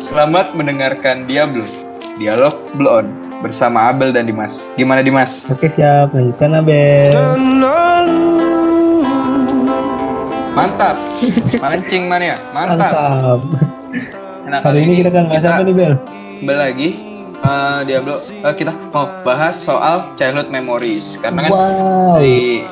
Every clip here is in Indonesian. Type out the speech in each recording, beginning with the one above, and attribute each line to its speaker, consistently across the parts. Speaker 1: Selamat mendengarkan Diablo, Dialog Blon bersama Abel dan Dimas. Gimana Dimas?
Speaker 2: Oke siap, lanjutkan Abel.
Speaker 1: Mantap. Mancing mania, mantap.
Speaker 2: Mantap.
Speaker 1: Nah,
Speaker 2: Kali ini kita akan bahas apa nih Bel?
Speaker 1: kembali lagi eh, Diablo eh, kita mau bahas soal childhood memories karena kan
Speaker 2: Wow.
Speaker 1: di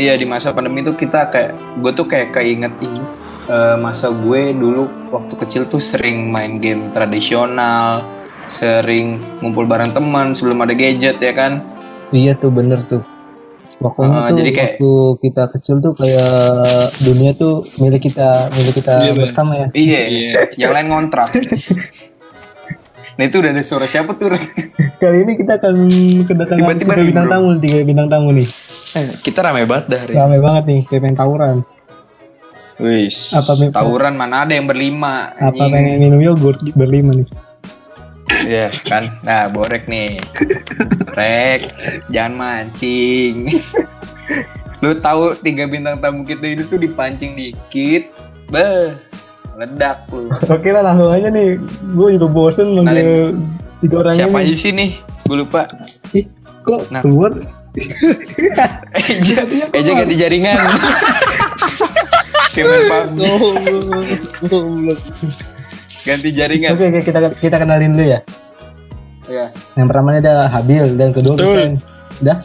Speaker 1: iya di masa pandemi itu kita kayak gue tuh kayak keinget ini eh, masa gue dulu waktu kecil tuh sering main game tradisional sering ngumpul bareng teman sebelum ada gadget ya kan
Speaker 2: Iya tuh bener tuh. Pokoknya
Speaker 1: Ah,
Speaker 2: tuh
Speaker 1: jadi kayak-
Speaker 2: waktu kita kecil tuh kayak dunia tuh milik kita milik kita bersama ya.
Speaker 1: iya yang lain ngontrak nah itu udah ada suara siapa tuh Rek?
Speaker 2: Kali ini kita akan kedatangan
Speaker 1: Tiba-tiba
Speaker 2: tiga
Speaker 1: nih,
Speaker 2: bintang
Speaker 1: bro.
Speaker 2: tamu, tiga bintang tamu nih.
Speaker 3: Eh, Kita rame banget dah hari
Speaker 1: Iya.
Speaker 3: ini.
Speaker 2: Ramai banget nih, kayak pengen tawuran.
Speaker 3: Wis.
Speaker 2: Apa pengen,
Speaker 1: tawuran mana ada yang berlima
Speaker 2: apa
Speaker 1: anjing.
Speaker 2: pengen minum yogurt berlima nih?
Speaker 1: Iya kan? Nah, borek nih. Rek, jangan mancing. Lu tahu tiga bintang tamu kita ini tuh dipancing dikit, beh, meledak lu.
Speaker 2: Oke lah langsung aja nih, gue juga bosen manggil tiga orang
Speaker 1: Siapa
Speaker 2: ini.
Speaker 1: aja sih nih? Gue lupa.
Speaker 2: Ih, kok
Speaker 1: Nah.
Speaker 2: keluar?
Speaker 1: Eja, Eja ganti jaringan. Kayak main PUBG. ganti jaringan.
Speaker 2: Oke, oke, kita kita kenalin dulu ya.
Speaker 1: Ya.
Speaker 2: Yang pertama ada Habil dan kedua Betul. Udah?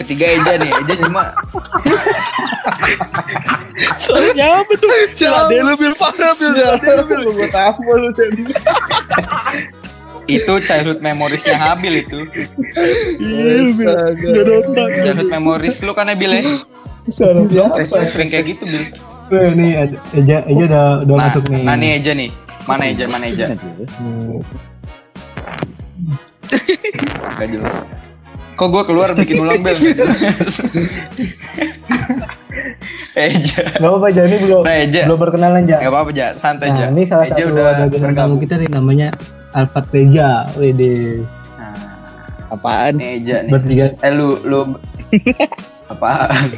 Speaker 1: Ketiga Eja nih, Eja cuma
Speaker 3: siapa tuh? Ada lu bil parah bil.
Speaker 1: itu childhood memoriesnya Habil itu. Childhood memories lu kan Habil ya?
Speaker 2: Salah siapa?
Speaker 1: Lu Sering kayak gitu, Bil.
Speaker 2: Weh, nih ada- Eja Eja udah udah
Speaker 1: Nah,
Speaker 2: masuk nih.
Speaker 1: nah nih aja nih. Mana aja, mana aja. Gak jelas. Kok gue keluar bikin ulang bel? Gak jelas. Eja.
Speaker 2: Gak apa-apa Eja ini belum
Speaker 1: Nah, Eja.
Speaker 2: belum berkenalan
Speaker 1: Gak
Speaker 2: ja.
Speaker 1: apa-apa, Ja. Santai,
Speaker 2: Nah,
Speaker 1: aja.
Speaker 2: ini salah
Speaker 1: Eja
Speaker 2: satu
Speaker 1: udah
Speaker 2: dagangan tamu
Speaker 1: bergabung.
Speaker 2: kita nih namanya Alphard Reja. WD.
Speaker 1: Nah,
Speaker 3: Apaan?
Speaker 1: nih Eja nih.
Speaker 2: Bertiga.
Speaker 1: Eh, lu, lu... Apaan?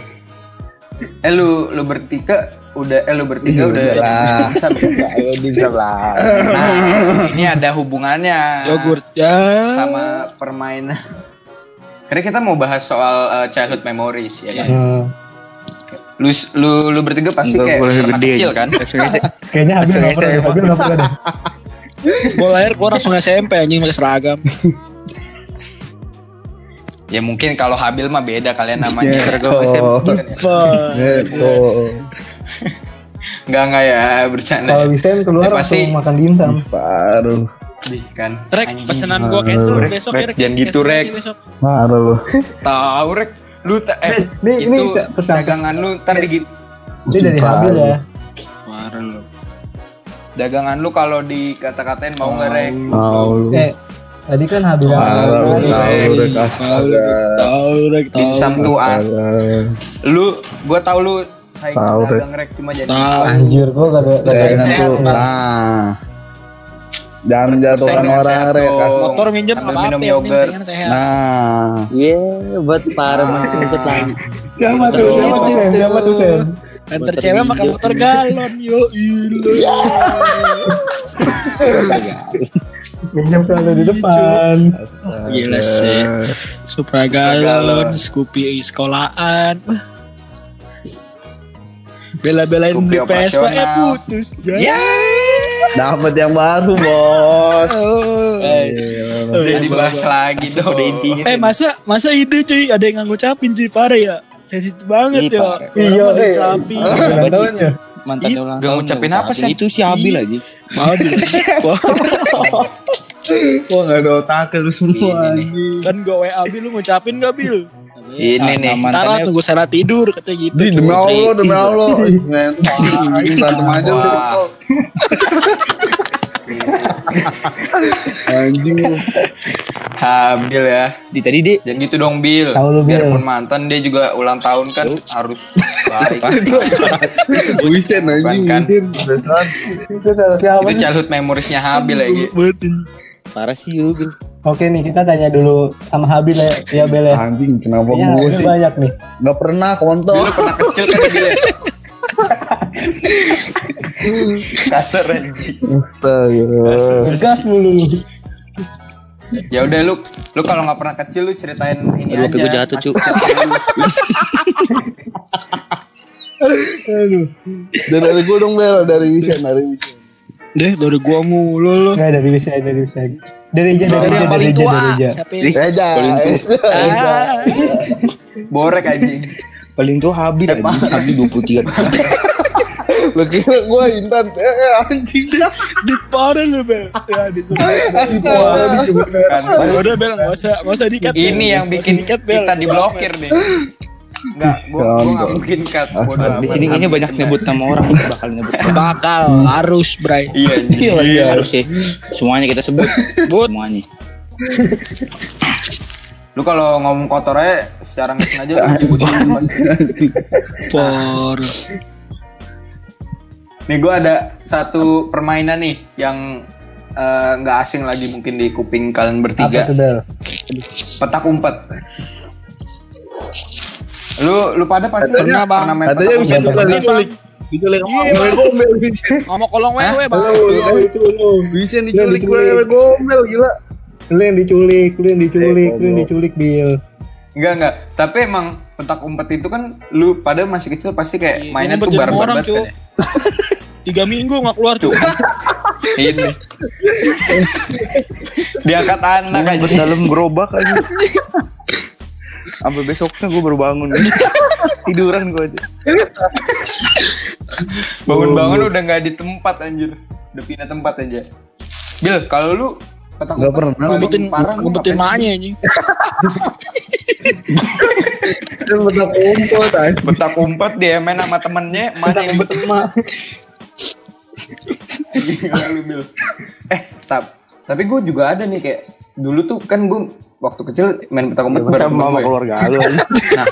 Speaker 1: Eh, lu, lu bertiga udah... Eh, lu
Speaker 2: Iya,
Speaker 1: bertiga udah...
Speaker 3: lah.
Speaker 1: Bisa-
Speaker 2: Ya,
Speaker 3: Ayo bisa lah.
Speaker 1: Nah, ini ada hubungannya.
Speaker 3: Yogurt ya.
Speaker 1: sama permainan. Karena kita mau bahas soal uh, childhood memories ya kan.
Speaker 2: Eh,
Speaker 1: Lu lu lu bertiga pasti kayak pernah
Speaker 3: gitu.
Speaker 1: kecil kan?
Speaker 2: kayaknya Habil nggak pernah, deh, Habil nggak pernah deh.
Speaker 4: Gue lahir gue langsung SMP anjing pakai seragam.
Speaker 1: Ya mungkin kalau Habil mah beda kalian namanya.
Speaker 3: Iya.
Speaker 2: Oh.
Speaker 1: ya. Enggak enggak ya bercanda.
Speaker 2: Kalau Wisem keluar
Speaker 1: Ya, pasti.
Speaker 2: langsung makan dimsum.
Speaker 3: Paruh.
Speaker 1: Ih, kan.
Speaker 4: Rek pesanan gue cancel
Speaker 3: Rek,
Speaker 4: besok
Speaker 1: Rek,
Speaker 4: ya. Rek.
Speaker 1: jangan gitu,
Speaker 4: Cancel
Speaker 1: Rek.
Speaker 4: lagi besok.
Speaker 3: Paruh lu.
Speaker 1: Tahu rek lu ta- eh
Speaker 2: Nih,
Speaker 1: itu
Speaker 2: nih, pesan.
Speaker 1: dagangan lu ntar di
Speaker 2: Ini dari Habil ya.
Speaker 1: dagangan lu kalau dikata-katain mau nggak rek?
Speaker 3: Mau lu.
Speaker 2: Eh, tadi kan Habil yang
Speaker 3: Parah lu.
Speaker 2: keluar.
Speaker 3: Tahu udah astaga.
Speaker 1: Dimsum tuh ah.
Speaker 3: Astaga.
Speaker 1: Lu gua tahu lu saya
Speaker 3: Tahu, Rek.
Speaker 1: dagang rek cuma jadi
Speaker 4: Tahu.
Speaker 2: Anjir, gua gak ada gak ada
Speaker 3: Saya
Speaker 1: Persaingan
Speaker 2: yang
Speaker 3: tuh.
Speaker 1: sehat,
Speaker 2: keluar.
Speaker 3: Nah. Jangan jatuhkan
Speaker 1: Persaingan
Speaker 3: orang ya,
Speaker 1: sehat
Speaker 3: rek.
Speaker 1: dong.
Speaker 3: Kasih-
Speaker 4: Motor minjem
Speaker 1: Sambil
Speaker 4: apa apa
Speaker 1: minum
Speaker 4: yang penting
Speaker 1: yogurt.
Speaker 4: saingan sehat.
Speaker 3: Nah.
Speaker 5: Ye, buat parah
Speaker 1: Ah.
Speaker 5: ikut lagi.
Speaker 2: Siapa tuh? Siapa tuh? Sen? Siapa tuh? Sen?
Speaker 4: Antar cewek pakai motor galon yo ilah.
Speaker 2: Minjam selalu di depan.
Speaker 4: Gila sih. Supra galon, Scoopy sekolahan. Bela-belain
Speaker 1: Scoopy
Speaker 4: beli PSP eh
Speaker 1: operasional.
Speaker 4: putus. Ya.
Speaker 3: Dapat yang baru, Bos.
Speaker 1: Udah dibahas lagi dong. Udah intinya.
Speaker 4: Eh masa masa itu cuy ada yang ngucapin cuy parah ya. Sensitif banget
Speaker 5: Ih,
Speaker 4: ya.
Speaker 2: Iya,
Speaker 4: Orang mau
Speaker 2: eh.
Speaker 4: diucapin.
Speaker 2: Ulang tahun ya?
Speaker 5: Mantan
Speaker 4: Ih,
Speaker 5: ulang
Speaker 1: gak
Speaker 5: tahun
Speaker 1: ngucapin
Speaker 5: ya,
Speaker 1: apa,
Speaker 5: tapi
Speaker 1: Sen?
Speaker 5: Itu si Habil aja.
Speaker 4: Mau di
Speaker 3: Wah, enggak ada otaknya lu semua.
Speaker 1: Ini nih.
Speaker 4: kan gue WA Bil lu ngucapin gak Bil? Nah,
Speaker 1: Ini nih.
Speaker 4: Ntar lah,
Speaker 5: Mantannya
Speaker 4: tunggu Sarah tidur katanya gitu.
Speaker 3: Di demi
Speaker 4: Cuy.
Speaker 3: Allah, demi Allah. Ngentot, berantem aja lu.
Speaker 1: Wah.
Speaker 3: Anjing lu.
Speaker 1: Habil ya.
Speaker 5: di tadi deh.
Speaker 1: Jangan gitu dong Bil.
Speaker 2: Tahu lu, Bil.
Speaker 1: Biarpun mantan dia juga ulang tahun kan harus baik.
Speaker 3: Wisen anjing,
Speaker 1: Bukan, kan?
Speaker 3: Wisen.
Speaker 2: Itu salah siapa?
Speaker 1: Itu childhood memoriesnya Habil ya,
Speaker 4: Iya.
Speaker 1: lagi.
Speaker 4: Buat ini.
Speaker 5: Parah sih lu, Bil.
Speaker 2: Oke nih, kita tanya dulu sama Habil ya, ya Bel ya.
Speaker 3: Anjing, kenapa
Speaker 5: Iya,
Speaker 2: Kayaknya
Speaker 3: gue
Speaker 2: Habil
Speaker 3: sih?
Speaker 2: banyak nih.
Speaker 3: Gak pernah, kontol.
Speaker 1: Pernah kecil kan ya, Bil. ya? Kasar anjing.
Speaker 5: Astaga.
Speaker 2: Gas mulu lu.
Speaker 1: Ya udah lu, lu kalau nggak pernah kecil lu ceritain ini
Speaker 5: Aduh,
Speaker 1: aja.
Speaker 5: tapi gue jatuh, cu.
Speaker 6: Dan dari gue dong Bel, dari Wisan, dari Wisan.
Speaker 4: Deh dari gua mulu lo.
Speaker 2: Enggak dari bisa dari bisa. Dari aja
Speaker 3: Dari
Speaker 2: dari aja
Speaker 3: yang
Speaker 2: dari
Speaker 3: paling
Speaker 2: aja
Speaker 3: tua.
Speaker 2: dari aja.
Speaker 4: Siapa? ya?
Speaker 6: Reja, Reja.
Speaker 4: Ah.
Speaker 1: Borek anjing.
Speaker 5: Paling tuh Habib aja. Habib 23.
Speaker 6: Lu kira gue Intan, eh eh, anjing.
Speaker 4: Dit parah lu bel. Ya di
Speaker 6: Astaga, disebut merah.
Speaker 1: Kan.
Speaker 4: Udah bel nggak usah nggak usah dikat.
Speaker 1: Ini yang bikin
Speaker 4: dikat bel.
Speaker 1: kita diblokir nih. Enggak, gua gua nggak mungkin cut. Bodoh
Speaker 5: Di
Speaker 1: amat.
Speaker 5: sini kayaknya banyak nyebut nama orang bakal nyebut.
Speaker 4: Bakal harus Bray.
Speaker 1: Iya, anjing.
Speaker 5: Iya harus ya. Semuanya kita sebut. Semuanya.
Speaker 1: Lu kalau ngomong kotor aja secara nggak sengaja lu nyebutin pasti.
Speaker 4: Por.
Speaker 1: Nih gue ada satu permainan nih yang eh, nggak asing lagi mungkin di kuping kalian
Speaker 2: Apa
Speaker 1: bertiga.
Speaker 2: tuh Del?
Speaker 1: Petak umpet. Lu lu pada pasti pernah,
Speaker 4: Bang.
Speaker 1: pernah main
Speaker 6: Katanya
Speaker 1: petak
Speaker 6: Wisan
Speaker 1: umpet.
Speaker 6: bukan
Speaker 1: kan?
Speaker 6: diculik. Diculik sama
Speaker 4: Iya.
Speaker 6: wewe gombel Wisan.
Speaker 4: Ngomong kolong
Speaker 1: Hah?
Speaker 4: wewe bang.
Speaker 6: Lu, lu, itu lu. Wisan diculik
Speaker 2: diculik.
Speaker 6: wewe gombel gila.
Speaker 2: Lu yang diculik, lu yang diculik,
Speaker 6: Eh,
Speaker 2: lu yang diculik Bill.
Speaker 1: Enggak enggak. Tapi emang petak umpet itu kan lu pada masih kecil pasti kayak
Speaker 4: Iya,
Speaker 1: mainnya
Speaker 4: umpet
Speaker 1: tuh
Speaker 4: jadi
Speaker 1: barbar
Speaker 4: orang,
Speaker 1: banget
Speaker 4: cu.
Speaker 1: kan ya.
Speaker 4: Tiga minggu nggak keluar tuh.
Speaker 1: Ini. Diangkat anak aja.
Speaker 5: Ngumpet dalam gerobak aja. Sampai besoknya gue baru bangun. Tiduran gue aja.
Speaker 1: Bangun-bangun udah nggak di tempat anjir. Udah pindah tempat aja. Bil, kalau lu petak
Speaker 6: Nggak pernah.
Speaker 1: paling
Speaker 4: Ngumpetin
Speaker 1: parah lu
Speaker 4: ngumpetin
Speaker 1: ngapain?
Speaker 4: maknya ini.
Speaker 6: Kan petak umpet anjing.
Speaker 1: Petak umpet dia main sama temennya, mana yang
Speaker 2: Berteman.
Speaker 1: Gila lu, Bil. Eh, tap. Tapi gue juga ada nih kayak dulu tuh kan gue waktu kecil main petak
Speaker 5: Iya,
Speaker 1: umpet bareng ya.
Speaker 5: Sama sama
Speaker 1: temen gue.
Speaker 5: keluarga lu.
Speaker 1: Nah,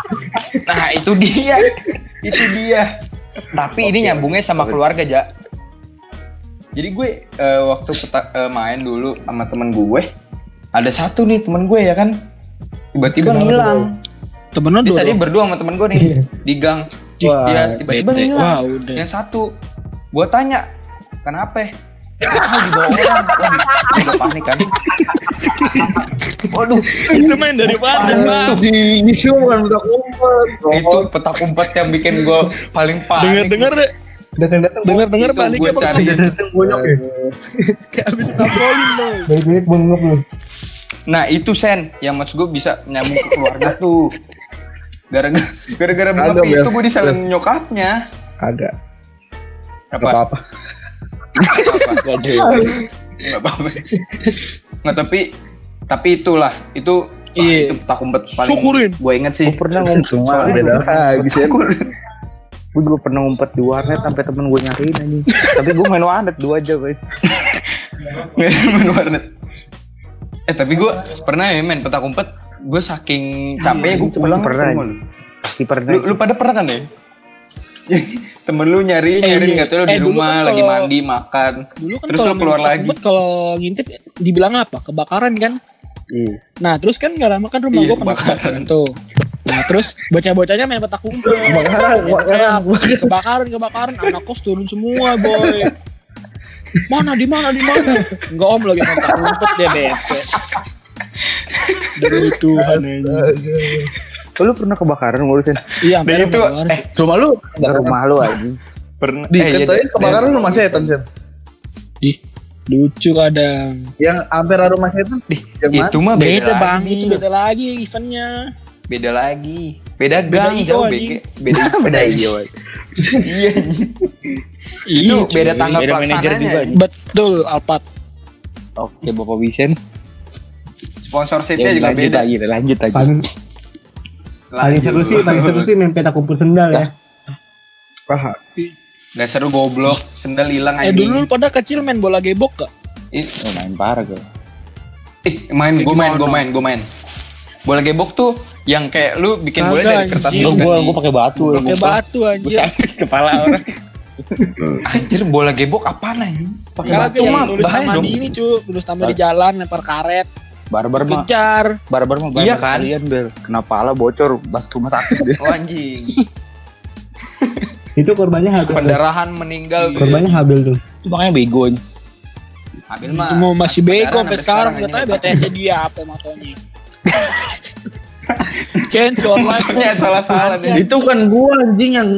Speaker 1: nah itu dia, itu dia. Tapi ini nyambungnya sama keluarga ja. Jadi gue eh, waktu peta- eh, main dulu sama temen gue, ada satu nih temen gue ya kan, tiba-tiba ngilang.
Speaker 4: Temenan
Speaker 1: Dia
Speaker 4: dua.
Speaker 1: tadi
Speaker 4: dong.
Speaker 1: berdua sama temen gue nih di gang.
Speaker 6: Wah,
Speaker 1: Iya, tiba-tiba
Speaker 4: bete.
Speaker 1: ngilang.
Speaker 4: Wah, udah.
Speaker 1: Yang satu, gue tanya, kenapa? Ah, dibawa orang. Wah, gue panik kan. Waduh,
Speaker 4: Itu main dari mana bang?
Speaker 6: Anjing, itu bukan petak umpet.
Speaker 1: itu petak umpet yang bikin gue paling panik.
Speaker 4: Dengar dengar
Speaker 2: Datang-datang
Speaker 4: dengar dengar
Speaker 1: Itu
Speaker 4: baliknya
Speaker 1: gue
Speaker 4: bang.
Speaker 1: cari.
Speaker 2: datang bonyok ya.
Speaker 4: Kayak abis tapolin lo.
Speaker 2: Baik-baik bonyok lu.
Speaker 1: Nah itu Sen, yang maksud gue bisa nyambung ke keluarga tuh. Gara-gara gara-gara buka
Speaker 6: Agak,
Speaker 1: pintu
Speaker 6: Bel.
Speaker 1: gue disalin nyokapnya.
Speaker 6: Agak. Gak
Speaker 1: Apa?
Speaker 6: apa-apa.
Speaker 1: Gak apa-apa. Nggak tapi tapi itulah itu wah,
Speaker 4: Iya.
Speaker 1: itu petak umpet paling
Speaker 4: Syukurin.
Speaker 1: gue inget sih.
Speaker 5: Gue pernah ngumpet.
Speaker 6: Wah, beda lagi Sen.
Speaker 5: Gue juga pernah ngumpet di warnet sampai temen gue nyariin aja. Tapi gue main warnet dua aja gue.
Speaker 1: main warnet. Eh tapi gue pernah ya main petak umpet. Gue saking capeknya gue
Speaker 5: itu
Speaker 1: pulang
Speaker 5: pasti pernah.
Speaker 1: ke rumah.
Speaker 5: Si pernah.
Speaker 1: Lu, lu pada pernah kan ya? Temen lu nyari
Speaker 4: Eh,
Speaker 1: nyari
Speaker 4: iya.
Speaker 1: nggak tuh lu
Speaker 4: Eh,
Speaker 1: di
Speaker 4: dulu
Speaker 1: rumah
Speaker 4: kan
Speaker 1: lagi
Speaker 4: kalau-
Speaker 1: mandi makan.
Speaker 4: Dulu kan
Speaker 1: Terus
Speaker 4: kalau
Speaker 1: lu keluar
Speaker 4: main petak
Speaker 1: lagi.
Speaker 4: umpet, kalau ngintip dibilang apa? Kebakaran kan?
Speaker 5: Iya.
Speaker 4: Nah terus kan gak lama kan rumah
Speaker 1: Iya,
Speaker 4: gue kena
Speaker 1: kebakaran.
Speaker 4: kebakaran tuh. Nah terus bocah-bocahnya main petak umpet.
Speaker 6: Kebakaran, kebakaran.
Speaker 4: kebakaran, kebakaran. Anak kos turun semua boy. Mana di mana di mana? Enggak om lagi main petak umpet dia bete. Demi Tuhan aja.
Speaker 5: Oh, Lu pernah kebakaran ngurusin
Speaker 4: Iya,
Speaker 1: Dan
Speaker 4: sampai
Speaker 1: itu
Speaker 4: kebakaran.
Speaker 1: eh
Speaker 6: Rumah lu
Speaker 5: ke rumah lu aja.
Speaker 1: pernah
Speaker 6: Di,
Speaker 1: eh, iya,
Speaker 6: katanya
Speaker 1: Dan-
Speaker 6: kebakaran
Speaker 1: Dan-
Speaker 6: rumah setan, Sen.
Speaker 4: Ih, lucu kadang.
Speaker 6: Yang hampir ada rumah setan.
Speaker 1: Dih,
Speaker 6: Yang mana?
Speaker 1: itu mah beda,
Speaker 4: Beda
Speaker 1: lagi.
Speaker 4: bang, itu beda lagi eventnya.
Speaker 1: Beda lagi. Beda gang
Speaker 4: hijau,
Speaker 1: jauh
Speaker 4: anjing.
Speaker 1: beke. Beda beda hijau. Iya. anjing. Itu
Speaker 4: Iya,
Speaker 1: beda
Speaker 4: cuy.
Speaker 1: tanggal
Speaker 5: beda manajer juga,
Speaker 1: pelaksananya.
Speaker 5: anjing.
Speaker 4: Betul, Eh, Alpat.
Speaker 5: Oke Bapak Wisen.
Speaker 1: Sponsorshipnya
Speaker 5: Ya,
Speaker 1: juga
Speaker 5: lanjut
Speaker 1: beda.
Speaker 5: lagi deh, lanjut lagi.
Speaker 2: Paling paling seru sih, paling seru sih main petak umpet sendal ya.
Speaker 1: Gak seru goblok, sendal hilang
Speaker 4: Eh
Speaker 1: anjing.
Speaker 4: dulu lu pada kecil main bola gebok gak?
Speaker 1: Ih,
Speaker 5: Oh, main parah gue.
Speaker 1: Ih, Eh, main,
Speaker 4: Kayak
Speaker 1: gue main,
Speaker 4: gimana?
Speaker 1: gue main, gue main. Bola gebok tuh yang kayak lu bikin bola
Speaker 4: Kagak,
Speaker 1: dari kertas
Speaker 4: anjing.
Speaker 5: Gue
Speaker 1: dulu
Speaker 5: gue
Speaker 1: kan,
Speaker 5: gue
Speaker 1: Di.
Speaker 5: pakai batu.
Speaker 4: Pakai batu
Speaker 5: Gue
Speaker 4: anjir.
Speaker 5: sakit kepala orang.
Speaker 1: Anjir, bola gebok apaan anjing? Pakai
Speaker 4: Kagak
Speaker 1: batu
Speaker 4: ya,
Speaker 1: mah,
Speaker 4: lulus
Speaker 1: bahaya
Speaker 4: taman
Speaker 1: dong. Nah.
Speaker 4: di ini cu, lulus taman di jalan, lempar karet,
Speaker 5: Barbar mah,
Speaker 4: kejar.
Speaker 5: barbar mah.
Speaker 1: Iya
Speaker 5: barbar
Speaker 1: kan?
Speaker 5: Kalian bel, kena pala bocor, bas rumah sakit deh.
Speaker 1: Oh anjing.
Speaker 2: Itu korbannya Habil.
Speaker 1: Pendarahan meninggal.
Speaker 2: Korbannya Habil tuh.
Speaker 4: Itu makanya bego.
Speaker 1: Habil mah.
Speaker 4: Cuma masih
Speaker 1: pendarahan
Speaker 4: bego sampai sekarang ya,
Speaker 1: sampai
Speaker 4: enggak tahu
Speaker 1: sekarang
Speaker 4: BTS dia apa motonya. Change your life.
Speaker 1: Motornya salah-salah deh.
Speaker 6: Itu kan gua anjing yang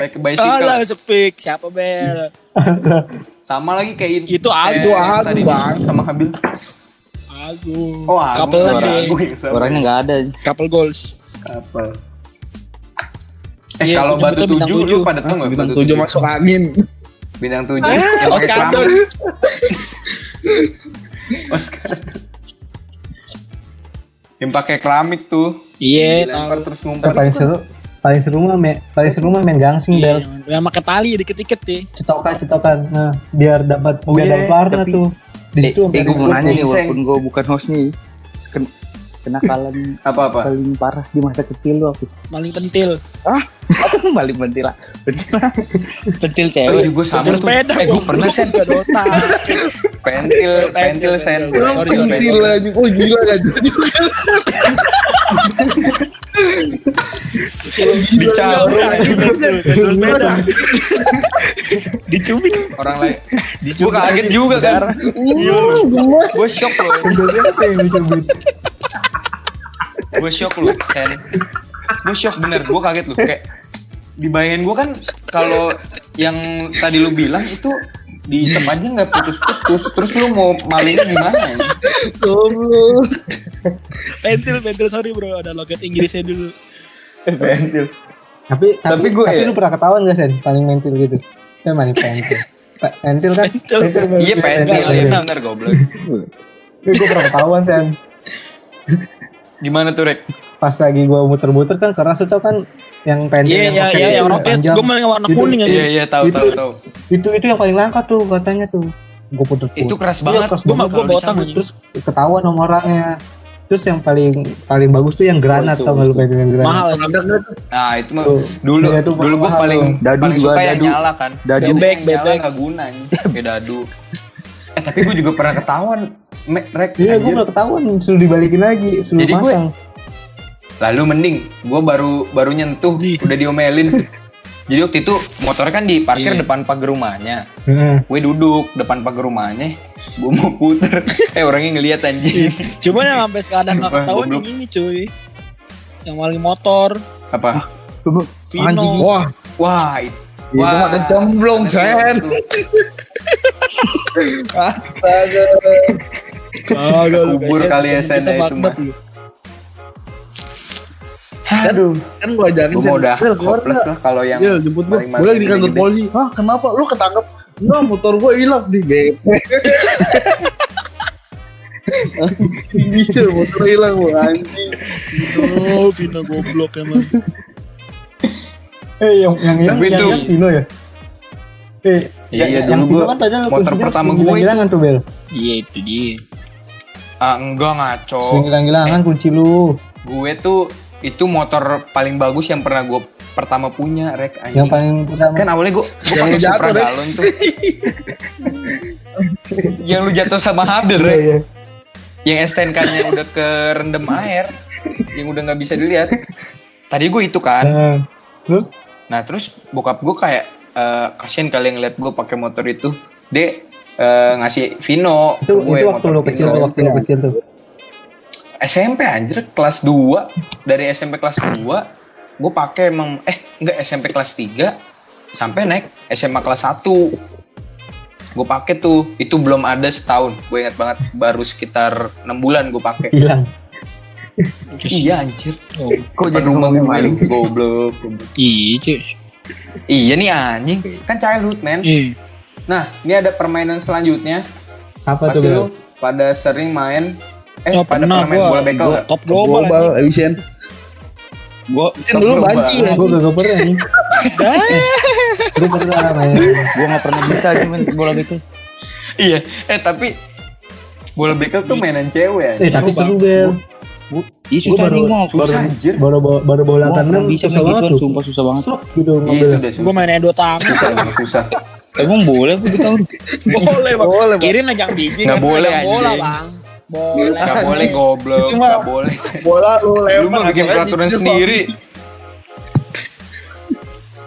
Speaker 1: Baik ke bicycle.
Speaker 4: Salah speak siapa Bel?
Speaker 1: Sama lagi kayak ini.
Speaker 4: Itu
Speaker 1: Kayak
Speaker 4: Abi.
Speaker 6: Itu Abi,
Speaker 1: tadi
Speaker 6: Bang.
Speaker 1: Sama Habil.
Speaker 4: Aku.
Speaker 1: Oh, Agung.
Speaker 4: Couple
Speaker 1: Orang
Speaker 4: lagi.
Speaker 1: Agung ya, sama.
Speaker 5: Orangnya nggak ada.
Speaker 4: Couple goals.
Speaker 1: Couple. Eh
Speaker 4: Iya,
Speaker 1: kalau
Speaker 4: bintang
Speaker 1: batu
Speaker 4: tujuh,
Speaker 1: tujuh
Speaker 4: bintang
Speaker 1: lu
Speaker 4: tujuh. Ah,
Speaker 1: pada tahu nggak
Speaker 6: bintang
Speaker 1: Batu
Speaker 6: tujuh masuk angin.
Speaker 1: Bintang tujuh. Yang pakai
Speaker 4: Oscar
Speaker 1: celana.
Speaker 4: Don.
Speaker 1: Oscar. Yang pakai keramik tuh.
Speaker 4: Iya,
Speaker 1: Dilempar
Speaker 4: tahu.
Speaker 1: terus
Speaker 2: Yang
Speaker 1: ngumpet.
Speaker 2: paling seru paling seru mah me- paling seru mah main gangsing
Speaker 4: Iya,
Speaker 2: bel
Speaker 4: yang pakai tali dikit-dikit deh.
Speaker 2: cetokan cetokan nah biar dapat
Speaker 1: Oh
Speaker 2: biar
Speaker 1: iya,
Speaker 2: dapat warna
Speaker 1: tapi-
Speaker 2: tuh di
Speaker 5: Eh,
Speaker 2: situ sampai
Speaker 5: eh gue mau
Speaker 2: ada-
Speaker 5: nanya nih
Speaker 1: Seng.
Speaker 5: walaupun gue bukan hostnya. Ken kenakalan
Speaker 1: Apa-apa?
Speaker 5: paling parah di masa kecil lu aku.
Speaker 4: Maling pentil.
Speaker 5: Balik bentila. Bentila.
Speaker 4: Pentil
Speaker 1: Oh,
Speaker 4: cewek.
Speaker 1: iya, gue sama
Speaker 4: Pentil
Speaker 1: tuh.
Speaker 4: sepeda.
Speaker 1: Eh, gue pernah sen.
Speaker 4: Ke Dota.
Speaker 1: Pentil, pentil sen.
Speaker 6: Orang
Speaker 4: Sorry, sorry.
Speaker 6: pentil lagi. Oh gila kan.
Speaker 1: Dicabut.
Speaker 4: sepeda. Dicubit.
Speaker 1: Orang lain. Gue kaget juga kan. Gue shock loh.
Speaker 2: apa yang dicabut
Speaker 1: gue shock lu sen gue shock bener gue kaget lu kayak dibayangin gue kan kalau yang tadi lu bilang itu di aja nggak putus-putus terus lu mau malingnya gimana ya?
Speaker 6: Goblok.
Speaker 4: Pentil, pentil. Sorry bro, ada logat Inggrisnya dulu.
Speaker 2: tapi tapi
Speaker 1: gue
Speaker 2: tapi
Speaker 1: ya-
Speaker 2: lu pernah ketahuan gak sen paling mentil gitu kan paling pentil Pe- pentil kan
Speaker 4: Pentil.
Speaker 1: iya pentil
Speaker 2: Iya.
Speaker 1: ya bener goblok
Speaker 2: Tapi gue pernah ketahuan sen
Speaker 1: gimana tuh rek
Speaker 2: pas lagi gue muter-muter kan keras itu kan yang pentil
Speaker 4: Iya, iya,
Speaker 2: pakai
Speaker 4: iya, yang roket.
Speaker 2: panjang.
Speaker 4: Gue malah yang warna
Speaker 2: Itu-
Speaker 4: kuning aja.
Speaker 1: iya iya tahu
Speaker 2: Itu-
Speaker 1: tahu tahu
Speaker 2: itu itu yang paling langka tuh katanya tuh gue puter
Speaker 1: itu keras banget
Speaker 2: keras
Speaker 4: Gue
Speaker 2: banget
Speaker 4: mah gue
Speaker 1: kalau
Speaker 4: botak aja.
Speaker 2: terus ketahuan sama orangnya terus yang paling paling bagus tuh yang granat
Speaker 5: Oh, itu.
Speaker 2: tau gak lu pengen yang granat
Speaker 4: Mahal. gitu.
Speaker 1: nah itu mah
Speaker 2: Tuh.
Speaker 1: dulu
Speaker 2: Iya, itu
Speaker 1: dulu gue
Speaker 2: mahal
Speaker 1: paling
Speaker 2: tuh.
Speaker 5: Dadu
Speaker 1: paling
Speaker 5: juga,
Speaker 1: suka yang
Speaker 5: dadu.
Speaker 1: nyala kan
Speaker 5: Dadu.
Speaker 1: Yang
Speaker 4: Bebek,
Speaker 1: nyala
Speaker 4: bebek.
Speaker 1: nggak guna anjing. kayak dadu eh tapi gue juga pernah ketahuan Me- rek
Speaker 2: iya gue
Speaker 1: anjir.
Speaker 2: udah ketahuan suruh dibalikin lagi suruh
Speaker 1: Jadi gue-
Speaker 2: pasang
Speaker 1: Lalu mending gue baru baru nyentuh udah diomelin. Jadi waktu itu motornya kan
Speaker 6: Iya.
Speaker 1: diparkir depan pagar rumahnya.
Speaker 2: Heeh.
Speaker 1: Gue duduk depan pagar rumahnya. Gue mau puter. eh orangnya ngeliat anjing.
Speaker 6: Iya.
Speaker 4: Cuman yang sampai sekarang nggak
Speaker 1: Sumpah,
Speaker 4: ketahuan
Speaker 1: goblok.
Speaker 4: yang ini cuy. Yang maling motor,
Speaker 1: Apa?
Speaker 4: Vino.
Speaker 6: Wah,
Speaker 1: Wah, itu.
Speaker 6: Iya, itu mah kecemplung, Sen. Astaga.
Speaker 4: Kagak lu,
Speaker 1: Kubur
Speaker 4: guys,
Speaker 1: kali ya,
Speaker 4: temen
Speaker 1: Sen,
Speaker 4: kita
Speaker 1: ya, itu
Speaker 4: fucked
Speaker 1: mah.
Speaker 4: up.
Speaker 1: Aduh,
Speaker 6: Kan gua ajarin
Speaker 1: gue mau udah
Speaker 6: Bel, keluar
Speaker 1: hopeless
Speaker 6: dah.
Speaker 1: lah kalau yang
Speaker 6: Iya, jemput gua.
Speaker 1: paling
Speaker 6: Gua lagi di
Speaker 1: mati
Speaker 6: kantor
Speaker 1: gede-gede.
Speaker 6: polisi. Hah, kenapa? Lu ketangkep? Enggak, motor gua hilang di BP. Dicel, motor hilang gua anjing.
Speaker 4: Oh, Vino goblok emang.
Speaker 2: eh yang yang yang
Speaker 1: Tapi
Speaker 2: yang
Speaker 1: itu-
Speaker 2: yang Tino ya eh
Speaker 1: Iya,
Speaker 2: yang-
Speaker 1: dulu
Speaker 2: yang Tino
Speaker 1: gua-
Speaker 2: kan tadi lu
Speaker 1: motor pertama
Speaker 2: kuncinya
Speaker 1: Oh.
Speaker 2: sering
Speaker 1: gue
Speaker 2: hilang-hilangan tuh bel
Speaker 4: Iya itu dia.
Speaker 1: Ah, enggak ngaco.
Speaker 2: sering hilang-hilangan kunci lu
Speaker 1: Gue tuh itu motor paling bagus yang pernah gue pertama punya, Rek. anjing.
Speaker 2: yang paling pertama
Speaker 1: kan awalnya gue gue
Speaker 6: Yang
Speaker 1: pakai
Speaker 6: jatuh,
Speaker 1: Supra
Speaker 6: Rek.
Speaker 1: galon tuh yang lu jatuh sama Habil Rek
Speaker 2: Iya,
Speaker 1: yang
Speaker 2: iya.
Speaker 1: STNK nya udah ke rendem air yang udah nggak bisa dilihat tadi gue itu kan
Speaker 2: Heeh. terus
Speaker 1: nah terus bokap gue kayak eh, kasihan kali ngeliat gue pakai motor itu dek eh, ngasih Vino
Speaker 2: itu
Speaker 1: ke gue,
Speaker 2: itu waktu
Speaker 1: motor Iya.
Speaker 2: lu
Speaker 1: Vino.
Speaker 2: kecil waktu lu kecil tuh
Speaker 1: SMP anjir kelas 2 dari SMP kelas 2 gue pakai emang eh enggak SMP kelas 3 sampai naik SMA kelas 1 gue pakai tuh itu belum ada setahun gue ingat banget baru sekitar enam bulan gue pakai
Speaker 2: hilang
Speaker 1: iya anjir
Speaker 4: Oh,
Speaker 1: kok jadi rumah gue maling goblok
Speaker 4: iya cuy.
Speaker 1: iya nih anjing kan childhood man
Speaker 4: Iya.
Speaker 1: nah ini ada permainan selanjutnya
Speaker 2: apa tuh
Speaker 1: pasti
Speaker 2: bel
Speaker 1: lu pada sering main eh
Speaker 4: Oh,
Speaker 1: pada pernah
Speaker 4: pernah
Speaker 1: main
Speaker 4: gua.
Speaker 1: bola bekel nggak?
Speaker 4: Top global.
Speaker 6: Global,
Speaker 4: anjing.
Speaker 6: Evisen.
Speaker 5: Gue
Speaker 6: Kan dulu
Speaker 1: Global.
Speaker 6: banci ya.
Speaker 5: Iya.
Speaker 2: gue gak pernah nih
Speaker 5: Eh.
Speaker 2: gue pernah main
Speaker 5: gue nggak pernah bisa aja main bola bekel.
Speaker 1: iya eh tapi bola bekel
Speaker 4: Iya.
Speaker 1: tuh mainan cewek
Speaker 2: eh tapi seru bel
Speaker 5: Ih
Speaker 2: Gua
Speaker 5: susah
Speaker 2: baru-
Speaker 5: nih gue nggak
Speaker 1: susah anjir
Speaker 2: baru baru- baru bola
Speaker 5: Gua
Speaker 2: tandem
Speaker 5: nggak bisa
Speaker 2: susah
Speaker 5: main
Speaker 2: banget
Speaker 5: gituan,
Speaker 2: tuh.
Speaker 5: sumpah susah banget.
Speaker 2: Sruk gitu
Speaker 1: Iya itu
Speaker 2: mobil
Speaker 1: udah susah.
Speaker 4: Gue mainnya dua tangan.
Speaker 1: susah, emang susah.
Speaker 5: Emang boleh gue tahu.
Speaker 4: Boleh bang.
Speaker 6: Boleh, Bang.
Speaker 4: Kiri megang biji.
Speaker 1: Nggak
Speaker 4: kanan
Speaker 1: boleh,
Speaker 4: megang Bola
Speaker 1: anjing.
Speaker 4: bang. Boleh.
Speaker 1: Gak boleh goblok,
Speaker 6: Itu mah-
Speaker 1: gak boleh.
Speaker 6: Bola lu lempar.
Speaker 1: Lu mah bikin
Speaker 6: aja,
Speaker 1: peraturan
Speaker 6: dicel,
Speaker 1: sendiri.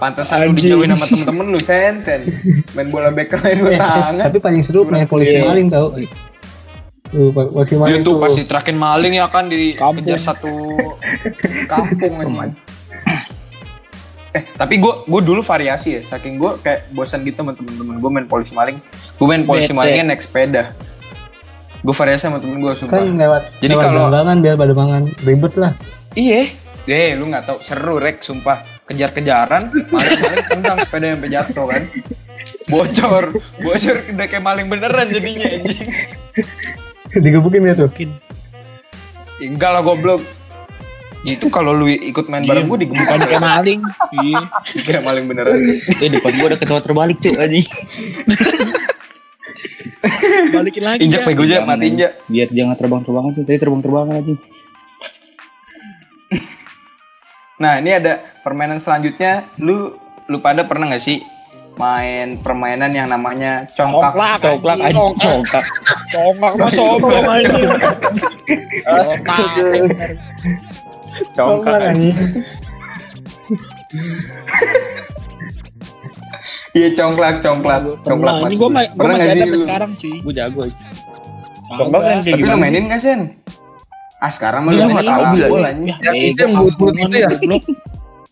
Speaker 1: Pantesan lu
Speaker 4: Anjing.
Speaker 1: dijauhin sama temen-temen lu, Sen, Sen. Main bola bekel main
Speaker 2: Eh,
Speaker 1: tangan.
Speaker 2: tapi paling seru main polisi
Speaker 1: Iya.
Speaker 2: maling tau tuh pol- polisi
Speaker 1: Dia
Speaker 2: maling
Speaker 1: tuh pasti terakhir maling ya kan di
Speaker 4: Kampung.
Speaker 1: kejar satu kampung anjing. Eh, tapi gue gue dulu variasi ya, saking gue kayak bosan gitu sama temen-temen gue main polisi maling. Gue main polisi
Speaker 4: Bete.
Speaker 1: malingnya naik sepeda. Gue variasi sama temen gue sumpah.
Speaker 2: kan lewat
Speaker 1: Jadi
Speaker 2: lewat
Speaker 1: kalau-
Speaker 2: gambangan biar pada mangan ribet lah
Speaker 1: Iya. Eh, lu nggak tahu seru rek, sumpah. Kejar-kejaran, maling-maling tendang sepeda yang jatuh kan. Bocor, bocor udah kayak maling beneran jadinya anjing.
Speaker 2: digebukin ya tuh
Speaker 1: Ya, Enggak lah goblok. Ya, Itu kalau lu ikut main bareng gue digebukan
Speaker 4: Bukan kayak maling. Iya.
Speaker 1: kayak maling beneran.
Speaker 5: Eh depan gua ada kecoa terbalik cuy anjing.
Speaker 4: Balikin lagi.
Speaker 1: Injak
Speaker 4: ya.
Speaker 1: pego aja
Speaker 5: Jangan,
Speaker 1: mati injak.
Speaker 5: anjing. Biar jangan terbang-terbangan cuy. Tadi terbang-terbangan anjing.
Speaker 1: Nah, ini ada permainan selanjutnya. Lu lu pada pernah nggak sih main permainan yang namanya congkak?
Speaker 4: Congklak.
Speaker 5: Congklak anjing congklak.
Speaker 4: Congkak mah sombong aja.
Speaker 5: Congklak anjing.
Speaker 1: Iya, congklak, congklak. Congklak.
Speaker 4: Nah, ini
Speaker 1: Mas.
Speaker 4: gue ma- gua
Speaker 1: Pernah nggak
Speaker 4: masih ada
Speaker 1: sih
Speaker 4: sampai
Speaker 1: lu?
Speaker 4: sekarang cuy.
Speaker 5: Gua jago anjing.
Speaker 6: Congklak kan kayak
Speaker 1: Tapi lu
Speaker 6: gimana?
Speaker 1: mainin nggak, Sen? Ah, sekarang mah lu
Speaker 4: Iya,
Speaker 1: nggak
Speaker 4: iya,
Speaker 1: tahu
Speaker 6: iya.
Speaker 1: bola anjing.
Speaker 4: Ya,
Speaker 6: Yang
Speaker 4: eh,
Speaker 6: itu yang
Speaker 4: gua
Speaker 6: bulut-bulut
Speaker 4: kampungan,
Speaker 6: itu ya?
Speaker 4: goblok.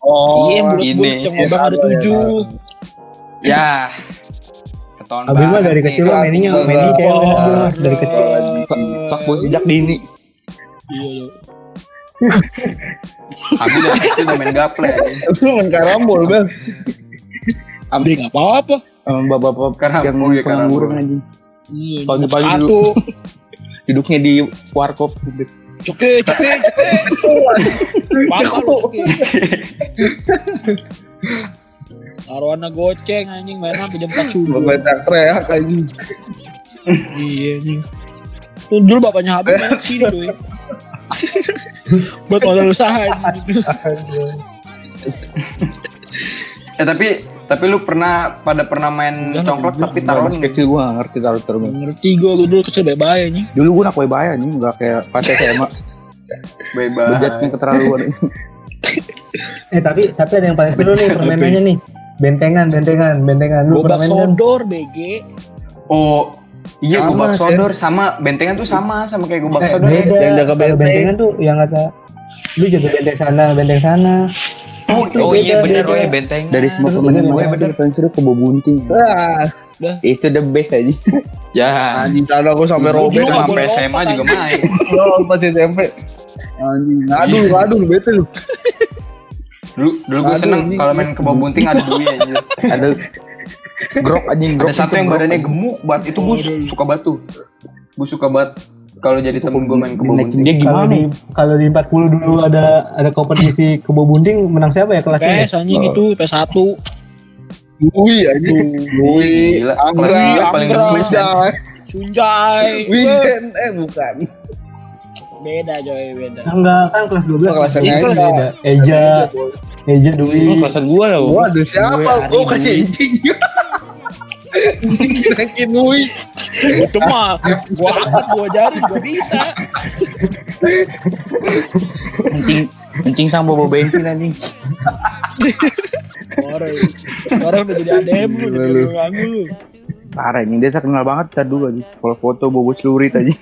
Speaker 6: Oh,
Speaker 4: Iya, yang
Speaker 1: ini.
Speaker 4: bulut-bulut yang
Speaker 6: Iya,
Speaker 4: abang ada
Speaker 6: tahu, iya,
Speaker 4: tujuh.
Speaker 1: Ya. Ketahuan
Speaker 2: Abi mah
Speaker 1: banget
Speaker 2: dari
Speaker 1: nih.
Speaker 2: kecil mah mainnya
Speaker 6: Wah,
Speaker 2: mainnya cewek
Speaker 4: wah,
Speaker 2: dari
Speaker 1: Iya,
Speaker 2: kecil
Speaker 5: Pak bos sejak dini.
Speaker 4: Iya, iya.
Speaker 1: Abi dari kecil udah main gaple. ya. anjing.
Speaker 6: Lu main karambol, Bang.
Speaker 4: Deh, nggak apa-apa.
Speaker 5: Sama bapak-bapak
Speaker 1: Karena
Speaker 5: yang
Speaker 1: oh iya, karena
Speaker 5: pengangguran
Speaker 1: gua.
Speaker 5: anjing.
Speaker 4: Iya,
Speaker 5: Pagi-pagi
Speaker 4: satu.
Speaker 5: dulu. Duduknya di warkop gitu.
Speaker 4: Coke, coke, coke. Pasal lu, coke. Taruhannya goceng anjing main sampai jam 4 subuh.
Speaker 6: Bapak teriak anjing.
Speaker 4: Iya anjing. Tuh dulu bapaknya Habib main sini cuy. Buat modal usaha anjing.
Speaker 1: Ya tapi tapi lu pernah pada pernah main
Speaker 4: Enggak,
Speaker 1: congklak tapi taruhan
Speaker 5: Taruh kecil gua nggak ngerti taruh taruh.
Speaker 4: Ngerti gue, gue dulu kecil bye-bye anjing.
Speaker 5: Dulu gua nakoi bayar anjing enggak kayak pas SMA.
Speaker 1: bebas.
Speaker 5: Bejatnya keterlaluan.
Speaker 2: eh tapi tapi ada yang paling seru nih permainannya nih bentengan bentengan bentengan lu pernah
Speaker 4: Gobak
Speaker 2: main kan?
Speaker 4: sodor BG.
Speaker 1: Oh iya
Speaker 6: Sama,
Speaker 1: gobak
Speaker 6: Sen.
Speaker 1: sodor sama bentengan tuh sama sama kayak gobak
Speaker 2: Eh,
Speaker 1: sodor. ya.
Speaker 2: beda.
Speaker 6: Yang jaga
Speaker 2: Kalau
Speaker 6: benteng.
Speaker 2: bentengan tuh yang kata lu jaga benteng sana benteng sana
Speaker 1: Oh,
Speaker 2: Itu
Speaker 1: oh
Speaker 2: beda,
Speaker 1: iya bener
Speaker 2: beda.
Speaker 1: oh iya bentengan.
Speaker 5: Dari semua
Speaker 2: Bener,
Speaker 5: permainan
Speaker 2: bener,
Speaker 5: gua
Speaker 1: bener.
Speaker 5: paling seru kebo bunting.
Speaker 6: Ah,
Speaker 5: Itu the best aja.
Speaker 1: ya
Speaker 6: anjing tadi aku sampai
Speaker 1: itu
Speaker 6: robek.
Speaker 4: Dulu nggak
Speaker 1: sampai
Speaker 4: boleh
Speaker 1: SMA
Speaker 4: lompat,
Speaker 1: juga main.
Speaker 6: Lo pas SMP. Anjing,
Speaker 1: Iya.
Speaker 6: aduh, aduh, lu bete lu.
Speaker 1: Dulu dulu gue
Speaker 6: Aduh,
Speaker 1: seneng
Speaker 6: ini-
Speaker 1: kalau main ke bawah bunting ada duit aja.
Speaker 5: Ada grok anjing grok.
Speaker 1: Ada satu
Speaker 5: itu
Speaker 1: yang
Speaker 5: grok,
Speaker 1: badannya
Speaker 5: anjing.
Speaker 1: gemuk banget itu
Speaker 5: Iya,
Speaker 1: gue suka batu. Gue suka banget kalau jadi temen gue main ke bawah
Speaker 5: Dinaikin
Speaker 1: bunting.
Speaker 6: Ya,
Speaker 5: Dia
Speaker 2: kalau
Speaker 5: gimana?
Speaker 2: di kalau di 40 dulu ada ada kompetisi kebo bunding menang siapa ya kelasnya ya?
Speaker 4: PS anjing itu PS1.
Speaker 6: Dui anjing. Dui,
Speaker 1: Gila,
Speaker 6: Anggra,
Speaker 1: kelas dua paling
Speaker 6: Anggra,
Speaker 1: gemes,
Speaker 6: Anggra.
Speaker 4: Cunjai.
Speaker 6: Wijen, eh bukan.
Speaker 4: Beda coy, beda.
Speaker 2: Ah, enggak kan kelas 12
Speaker 6: Oh, kelas
Speaker 2: Iya,
Speaker 6: yang
Speaker 2: kelas
Speaker 6: lain.
Speaker 2: beda Eja Eja
Speaker 5: Oh,
Speaker 2: Dwi
Speaker 5: kelasan gua lah. Bang.
Speaker 6: Waduh, siapa? Gua kasih anjing. Anjing kirain Dui.
Speaker 4: Itu mah gua angkat gua jari gua bisa.
Speaker 5: Kencing kencing sama bawa bensin anjing.
Speaker 4: Orang orang udah jadi adem lu, udah jadi ganggu lu.
Speaker 5: Parah anjing dia terkenal banget tar dulu anjing. Kalau foto bobo celurit anjing.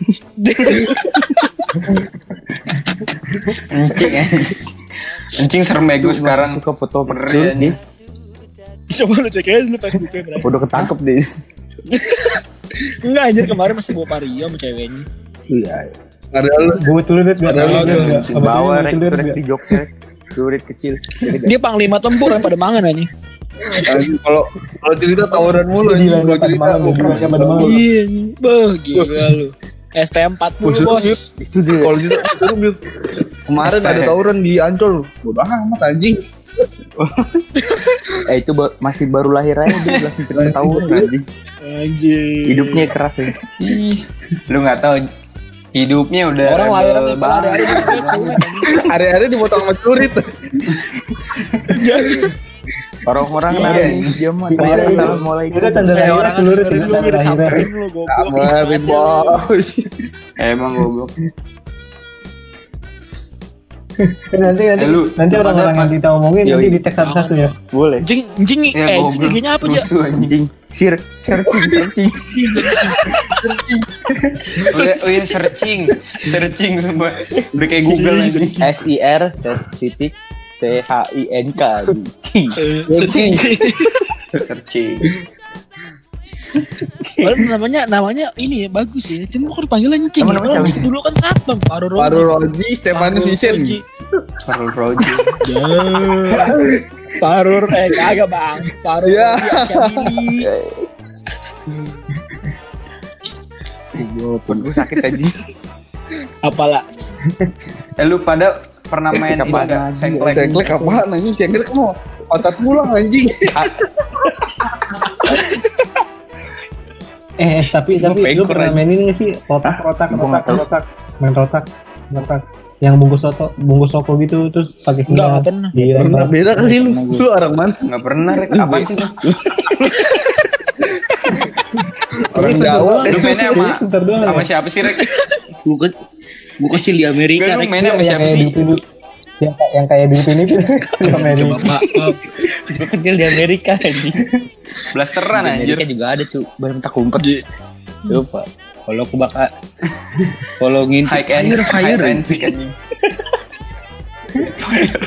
Speaker 1: Encing anjing. Encing serem ya gue sekarang.
Speaker 5: Masih suka foto
Speaker 1: Bener,
Speaker 5: celurit
Speaker 1: anjing.
Speaker 5: dia.
Speaker 4: Coba lu cek aja dulu Facebooknya berarti.
Speaker 5: Udah ketangkep deh.
Speaker 4: Enggak anjir kemarin masih bawa pario sama ceweknya.
Speaker 5: Iya.
Speaker 6: Ada lu.
Speaker 2: Gue celurit gak
Speaker 6: Ada lu,
Speaker 2: Gua
Speaker 5: anjing. Bawa
Speaker 2: celurit
Speaker 5: rek
Speaker 2: gak?
Speaker 5: rek di jok rek. Celurit kecil.
Speaker 4: Dia panglima tempur yang pada mangan anjing.
Speaker 6: Anjing, Kalau kalau cerita tawuran mulu
Speaker 2: Gila,
Speaker 6: anjing. Gua
Speaker 2: makan
Speaker 6: cerita
Speaker 2: malam,
Speaker 6: bukan.
Speaker 2: makan malam.
Speaker 4: Iya, anjing. beuh gila lu. ST 40
Speaker 6: Buset,
Speaker 4: bos.
Speaker 6: Yud.
Speaker 5: Itu dia.
Speaker 6: Kalau gitu seru Bil. Kemarin ada tawuran di Ancol. Bodoh amat anjing.
Speaker 5: Eh itu ba- masih baru lahir aja dia langsung cerita tahun anjing.
Speaker 4: Anjir.
Speaker 5: Hidupnya keras ya.
Speaker 1: Ih, Lu nggak tahu hidupnya udah
Speaker 4: orang
Speaker 1: rebel
Speaker 4: lahiran itu
Speaker 1: banget.
Speaker 4: ada
Speaker 6: Hari-hari dipotong sama celurit.
Speaker 5: Orang-orang
Speaker 1: Iya,
Speaker 5: nangis
Speaker 1: anjing.
Speaker 5: dia mah
Speaker 2: Iya,
Speaker 5: tanda
Speaker 2: iya.
Speaker 5: salah mulai.
Speaker 2: Udah tanda
Speaker 4: ada
Speaker 2: lahirnya
Speaker 4: orang
Speaker 2: celurit ya,
Speaker 4: dengerin lu,
Speaker 2: Tanda
Speaker 4: udah
Speaker 2: lahirnya
Speaker 4: samperin lu goblok.
Speaker 6: Kemarin
Speaker 4: Ismail.
Speaker 6: bos.
Speaker 1: Emang goblok.
Speaker 2: nanti nanti
Speaker 1: Eh, lu-
Speaker 2: nanti
Speaker 1: lu
Speaker 2: orang-orang
Speaker 1: pada-
Speaker 2: yang kita omongin
Speaker 5: Yoi.
Speaker 2: nanti di tag satu-satu ya.
Speaker 5: Boleh.
Speaker 4: Jing, jing, eh,
Speaker 1: goblok.
Speaker 4: IG-nya apa aja?
Speaker 1: Rusuh, anjing.
Speaker 5: Anjing. Sir, searching, searching.
Speaker 1: Oh iya, oh iya, searching, searching semua. Udah kayak Google anjing.
Speaker 5: S I R titik T H I N K. Cing.
Speaker 3: Eh, sedih.
Speaker 1: Searching.
Speaker 4: Walaupun namanya namanya ini ya, bagus ya. Cuma kan panggilan Cing.
Speaker 5: Nama- namanya
Speaker 4: Orang
Speaker 5: siapa sih?
Speaker 4: dulu kan satpam Paru Roji.
Speaker 6: Baru Roji, Stefanus Vincent.
Speaker 1: Perlu Roger.
Speaker 4: Parur eh kagak bang. Parur
Speaker 6: Iya.
Speaker 4: ya. Syamili.
Speaker 5: Pun gue sakit anjing.
Speaker 4: Apalah.
Speaker 1: Eh lu pada pernah main ini
Speaker 5: Kapan
Speaker 1: enggak?
Speaker 5: lagi?
Speaker 1: Sengklek.
Speaker 6: Sengklek apaan anjing? Sengklek mau otak pulang anjing.
Speaker 2: Eh, eh, tapi
Speaker 1: Cuma
Speaker 2: tapi lu
Speaker 1: pengkor
Speaker 2: pernah
Speaker 1: aja.
Speaker 2: main ini nggak sih rotak rotak rotak
Speaker 5: Gua nggak tahu.
Speaker 2: rotak main rotak rotak yang bungkus soto bungkus soko gitu terus pakai
Speaker 4: Enggak
Speaker 2: sendal
Speaker 4: enggak pernah.
Speaker 6: Pernah
Speaker 2: dilempar.
Speaker 6: beda kali lu. Lu orang mana?
Speaker 1: Enggak pernah rek. Apa sih lu?
Speaker 6: Orang
Speaker 2: Itu
Speaker 6: Jawa.
Speaker 2: doang.
Speaker 1: Lu mainnya sama
Speaker 2: Bentar Iya, doang ya.
Speaker 1: sama siapa sih rek?
Speaker 6: Gua ke- gua kecil di
Speaker 1: Enggak
Speaker 6: Amerika.
Speaker 1: lu
Speaker 6: Rek.
Speaker 1: mainnya sama
Speaker 2: Iya, yang
Speaker 1: siapa
Speaker 2: kayak
Speaker 1: sih?
Speaker 2: diupin yang, kayak- yang kayak di itu yang main ini.
Speaker 5: Gue kecil di Amerika anjing.
Speaker 1: Blasteran
Speaker 5: Di
Speaker 1: anjir.
Speaker 5: Amerika juga ada cuy. Banyak tak kumpet. Coba. Kalau aku bakal kalau ngintip
Speaker 1: High and
Speaker 6: Fire, fire.
Speaker 1: high and sick anjing. Fire,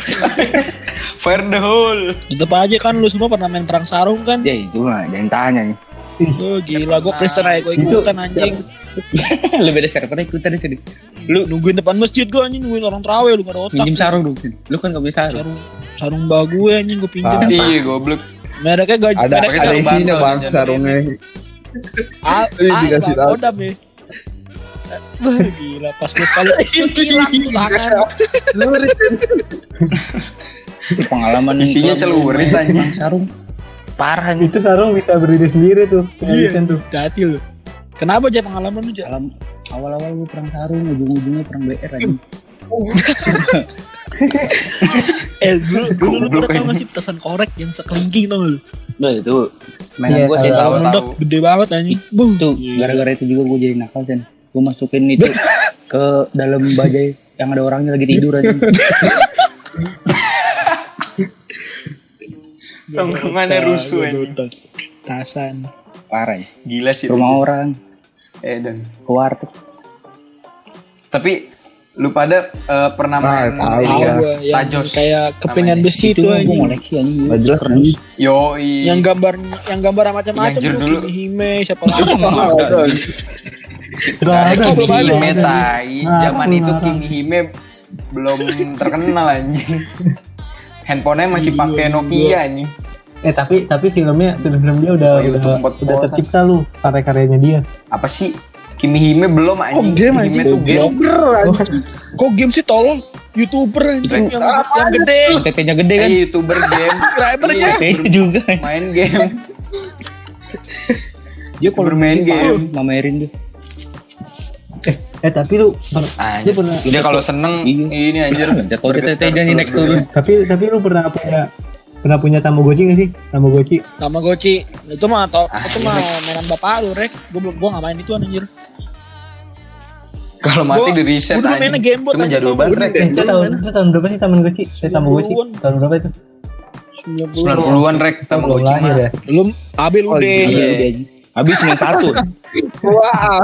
Speaker 1: fire the hole.
Speaker 4: Tetep aja kan lu semua pernah main perang sarung kan?
Speaker 5: ya itu mah jangan tanya nih.
Speaker 4: Oh, gila gua Kristen aja gua
Speaker 2: Itu-
Speaker 4: ikutan anjing.
Speaker 5: Lu beda server ikutan sini. Lu
Speaker 4: Nungguin depan masjid gua anjing nungguin orang trawe lu gak ada otak.
Speaker 5: minjem sarung dong. Lu kan gak punya sarung.
Speaker 4: Sarung sarung mbak gue anjing gua pinjam.
Speaker 1: Iya goblok.
Speaker 4: Mereknya gak
Speaker 6: Ada
Speaker 1: Pakai
Speaker 6: ada
Speaker 1: sarung
Speaker 6: isinya
Speaker 1: bantal,
Speaker 6: bang
Speaker 1: jangan
Speaker 6: sarungnya.
Speaker 4: Ah,
Speaker 6: Ini iya, dikasih
Speaker 4: Bang
Speaker 6: tahu.
Speaker 4: Kodam ya. Wah, Gila, pas gue sekali hilang tuh tangan.
Speaker 5: Itu pengalaman
Speaker 1: Isinya
Speaker 5: kalau main-
Speaker 1: celurit anjing.
Speaker 5: main sarung. Parah nih.
Speaker 2: itu sarung bisa berdiri sendiri tuh
Speaker 1: Iya.
Speaker 2: pengabisan tuh
Speaker 4: Hati lu. Kenapa aja pengalaman lu, Jay?
Speaker 5: Alam- awal-awal gue perang sarung ujung-ujungnya perang BR aja
Speaker 4: Eh, dulu dulu lu
Speaker 1: Goblok
Speaker 4: pernah tau
Speaker 1: ini.
Speaker 4: gak sih petasan korek yang sekelingking tau gak lu?
Speaker 5: nah itu
Speaker 2: Iya,
Speaker 5: mainan gue sih
Speaker 1: tahu,
Speaker 5: tahu
Speaker 1: tahu.
Speaker 4: Meledak gede banget anjing. Buh.
Speaker 5: itu gara-gara itu juga gue jadi nakal sen gue masukin itu ke dalam bajai yang ada orangnya lagi tidur aja
Speaker 1: Tongkrongannya rusuh anjing.
Speaker 4: Tasan.
Speaker 5: parah ya
Speaker 1: Gila sih.
Speaker 5: rumah orang
Speaker 1: Eh dan.
Speaker 5: keluar tuh
Speaker 1: Tapi lu pada eh, pernah
Speaker 6: Ah,
Speaker 1: main
Speaker 6: tahu
Speaker 1: ini
Speaker 4: Tahu
Speaker 6: Iya.
Speaker 1: nggak?
Speaker 4: gue yang
Speaker 1: Tajos
Speaker 4: kayak kepingan
Speaker 1: namanya.
Speaker 4: besi itu
Speaker 5: gue
Speaker 4: anjing.
Speaker 5: ngoleksi anjing
Speaker 6: Gak jelas
Speaker 5: Terus
Speaker 6: anjing.
Speaker 1: Yoi.
Speaker 4: Yang gambar yang gambar macam-macam
Speaker 1: Yang jir dulu.
Speaker 4: tuh Hime siapa lagi?
Speaker 2: Nggak ada,
Speaker 4: Kok belum
Speaker 2: nggak
Speaker 4: ada?
Speaker 2: ada.
Speaker 1: Nah, Hime tai.
Speaker 2: Nah,
Speaker 1: Zaman
Speaker 2: aku
Speaker 1: itu
Speaker 2: ngarang.
Speaker 1: King Hime belum terkenal anjing. Handphonenya masih
Speaker 4: Iya,
Speaker 1: pakai
Speaker 4: iya.
Speaker 1: Nokia anjing.
Speaker 2: eh tapi tapi filmnya film-film dia udah
Speaker 1: Oh, iya,
Speaker 2: udah,
Speaker 1: tempat
Speaker 2: udah
Speaker 1: kota.
Speaker 2: tercipta lu karya-karyanya dia
Speaker 1: Apa sih? Kimi Hime belum anjing.
Speaker 6: game,
Speaker 1: Kimi Hime
Speaker 6: anjing.
Speaker 1: tuh game.
Speaker 2: Oh.
Speaker 4: Kok game sih tolong? Youtuber anjing yang, yang gede.
Speaker 5: TT-nya gede kan
Speaker 1: Eh, YouTuber game. Iya,
Speaker 4: Subscribernya.
Speaker 5: TT juga
Speaker 1: Main game.
Speaker 5: dia kalau
Speaker 1: Bermain
Speaker 5: dia
Speaker 1: game.
Speaker 5: parah, mamerin dia
Speaker 2: eh eh tapi lu per-
Speaker 1: Anjing.
Speaker 2: dia pernah
Speaker 1: Dia kalau seneng
Speaker 5: Iya.
Speaker 1: ini anjir.
Speaker 5: jatuh dia TT nya nih naik turun
Speaker 2: tapi tapi lu pernah punya pernah punya tamagotchi gak sih tamagotchi
Speaker 4: Tamagotchi itu mah atau
Speaker 1: Ah,
Speaker 4: itu
Speaker 1: iya,
Speaker 4: mah mainan bapak lu rek gue belum gue nggak main itu anjir
Speaker 1: Kalau mati
Speaker 4: Gua-
Speaker 1: di reset
Speaker 4: gua dulu mainnya Game Boy,
Speaker 1: Cuma
Speaker 4: tapi
Speaker 1: jadul
Speaker 4: tahu
Speaker 1: banget. Rek.
Speaker 2: eh, itu tahun itu tahun berapa sih tamagotchi eh tamagotchi
Speaker 4: 90-an.
Speaker 2: tahun berapa itu
Speaker 4: 90
Speaker 1: 90-an rek sama
Speaker 2: Belum
Speaker 1: Gojima.
Speaker 2: lahir ya
Speaker 4: belum abel
Speaker 6: Oh,
Speaker 4: udah
Speaker 1: Iya.
Speaker 5: habis cuma satu
Speaker 6: Wah,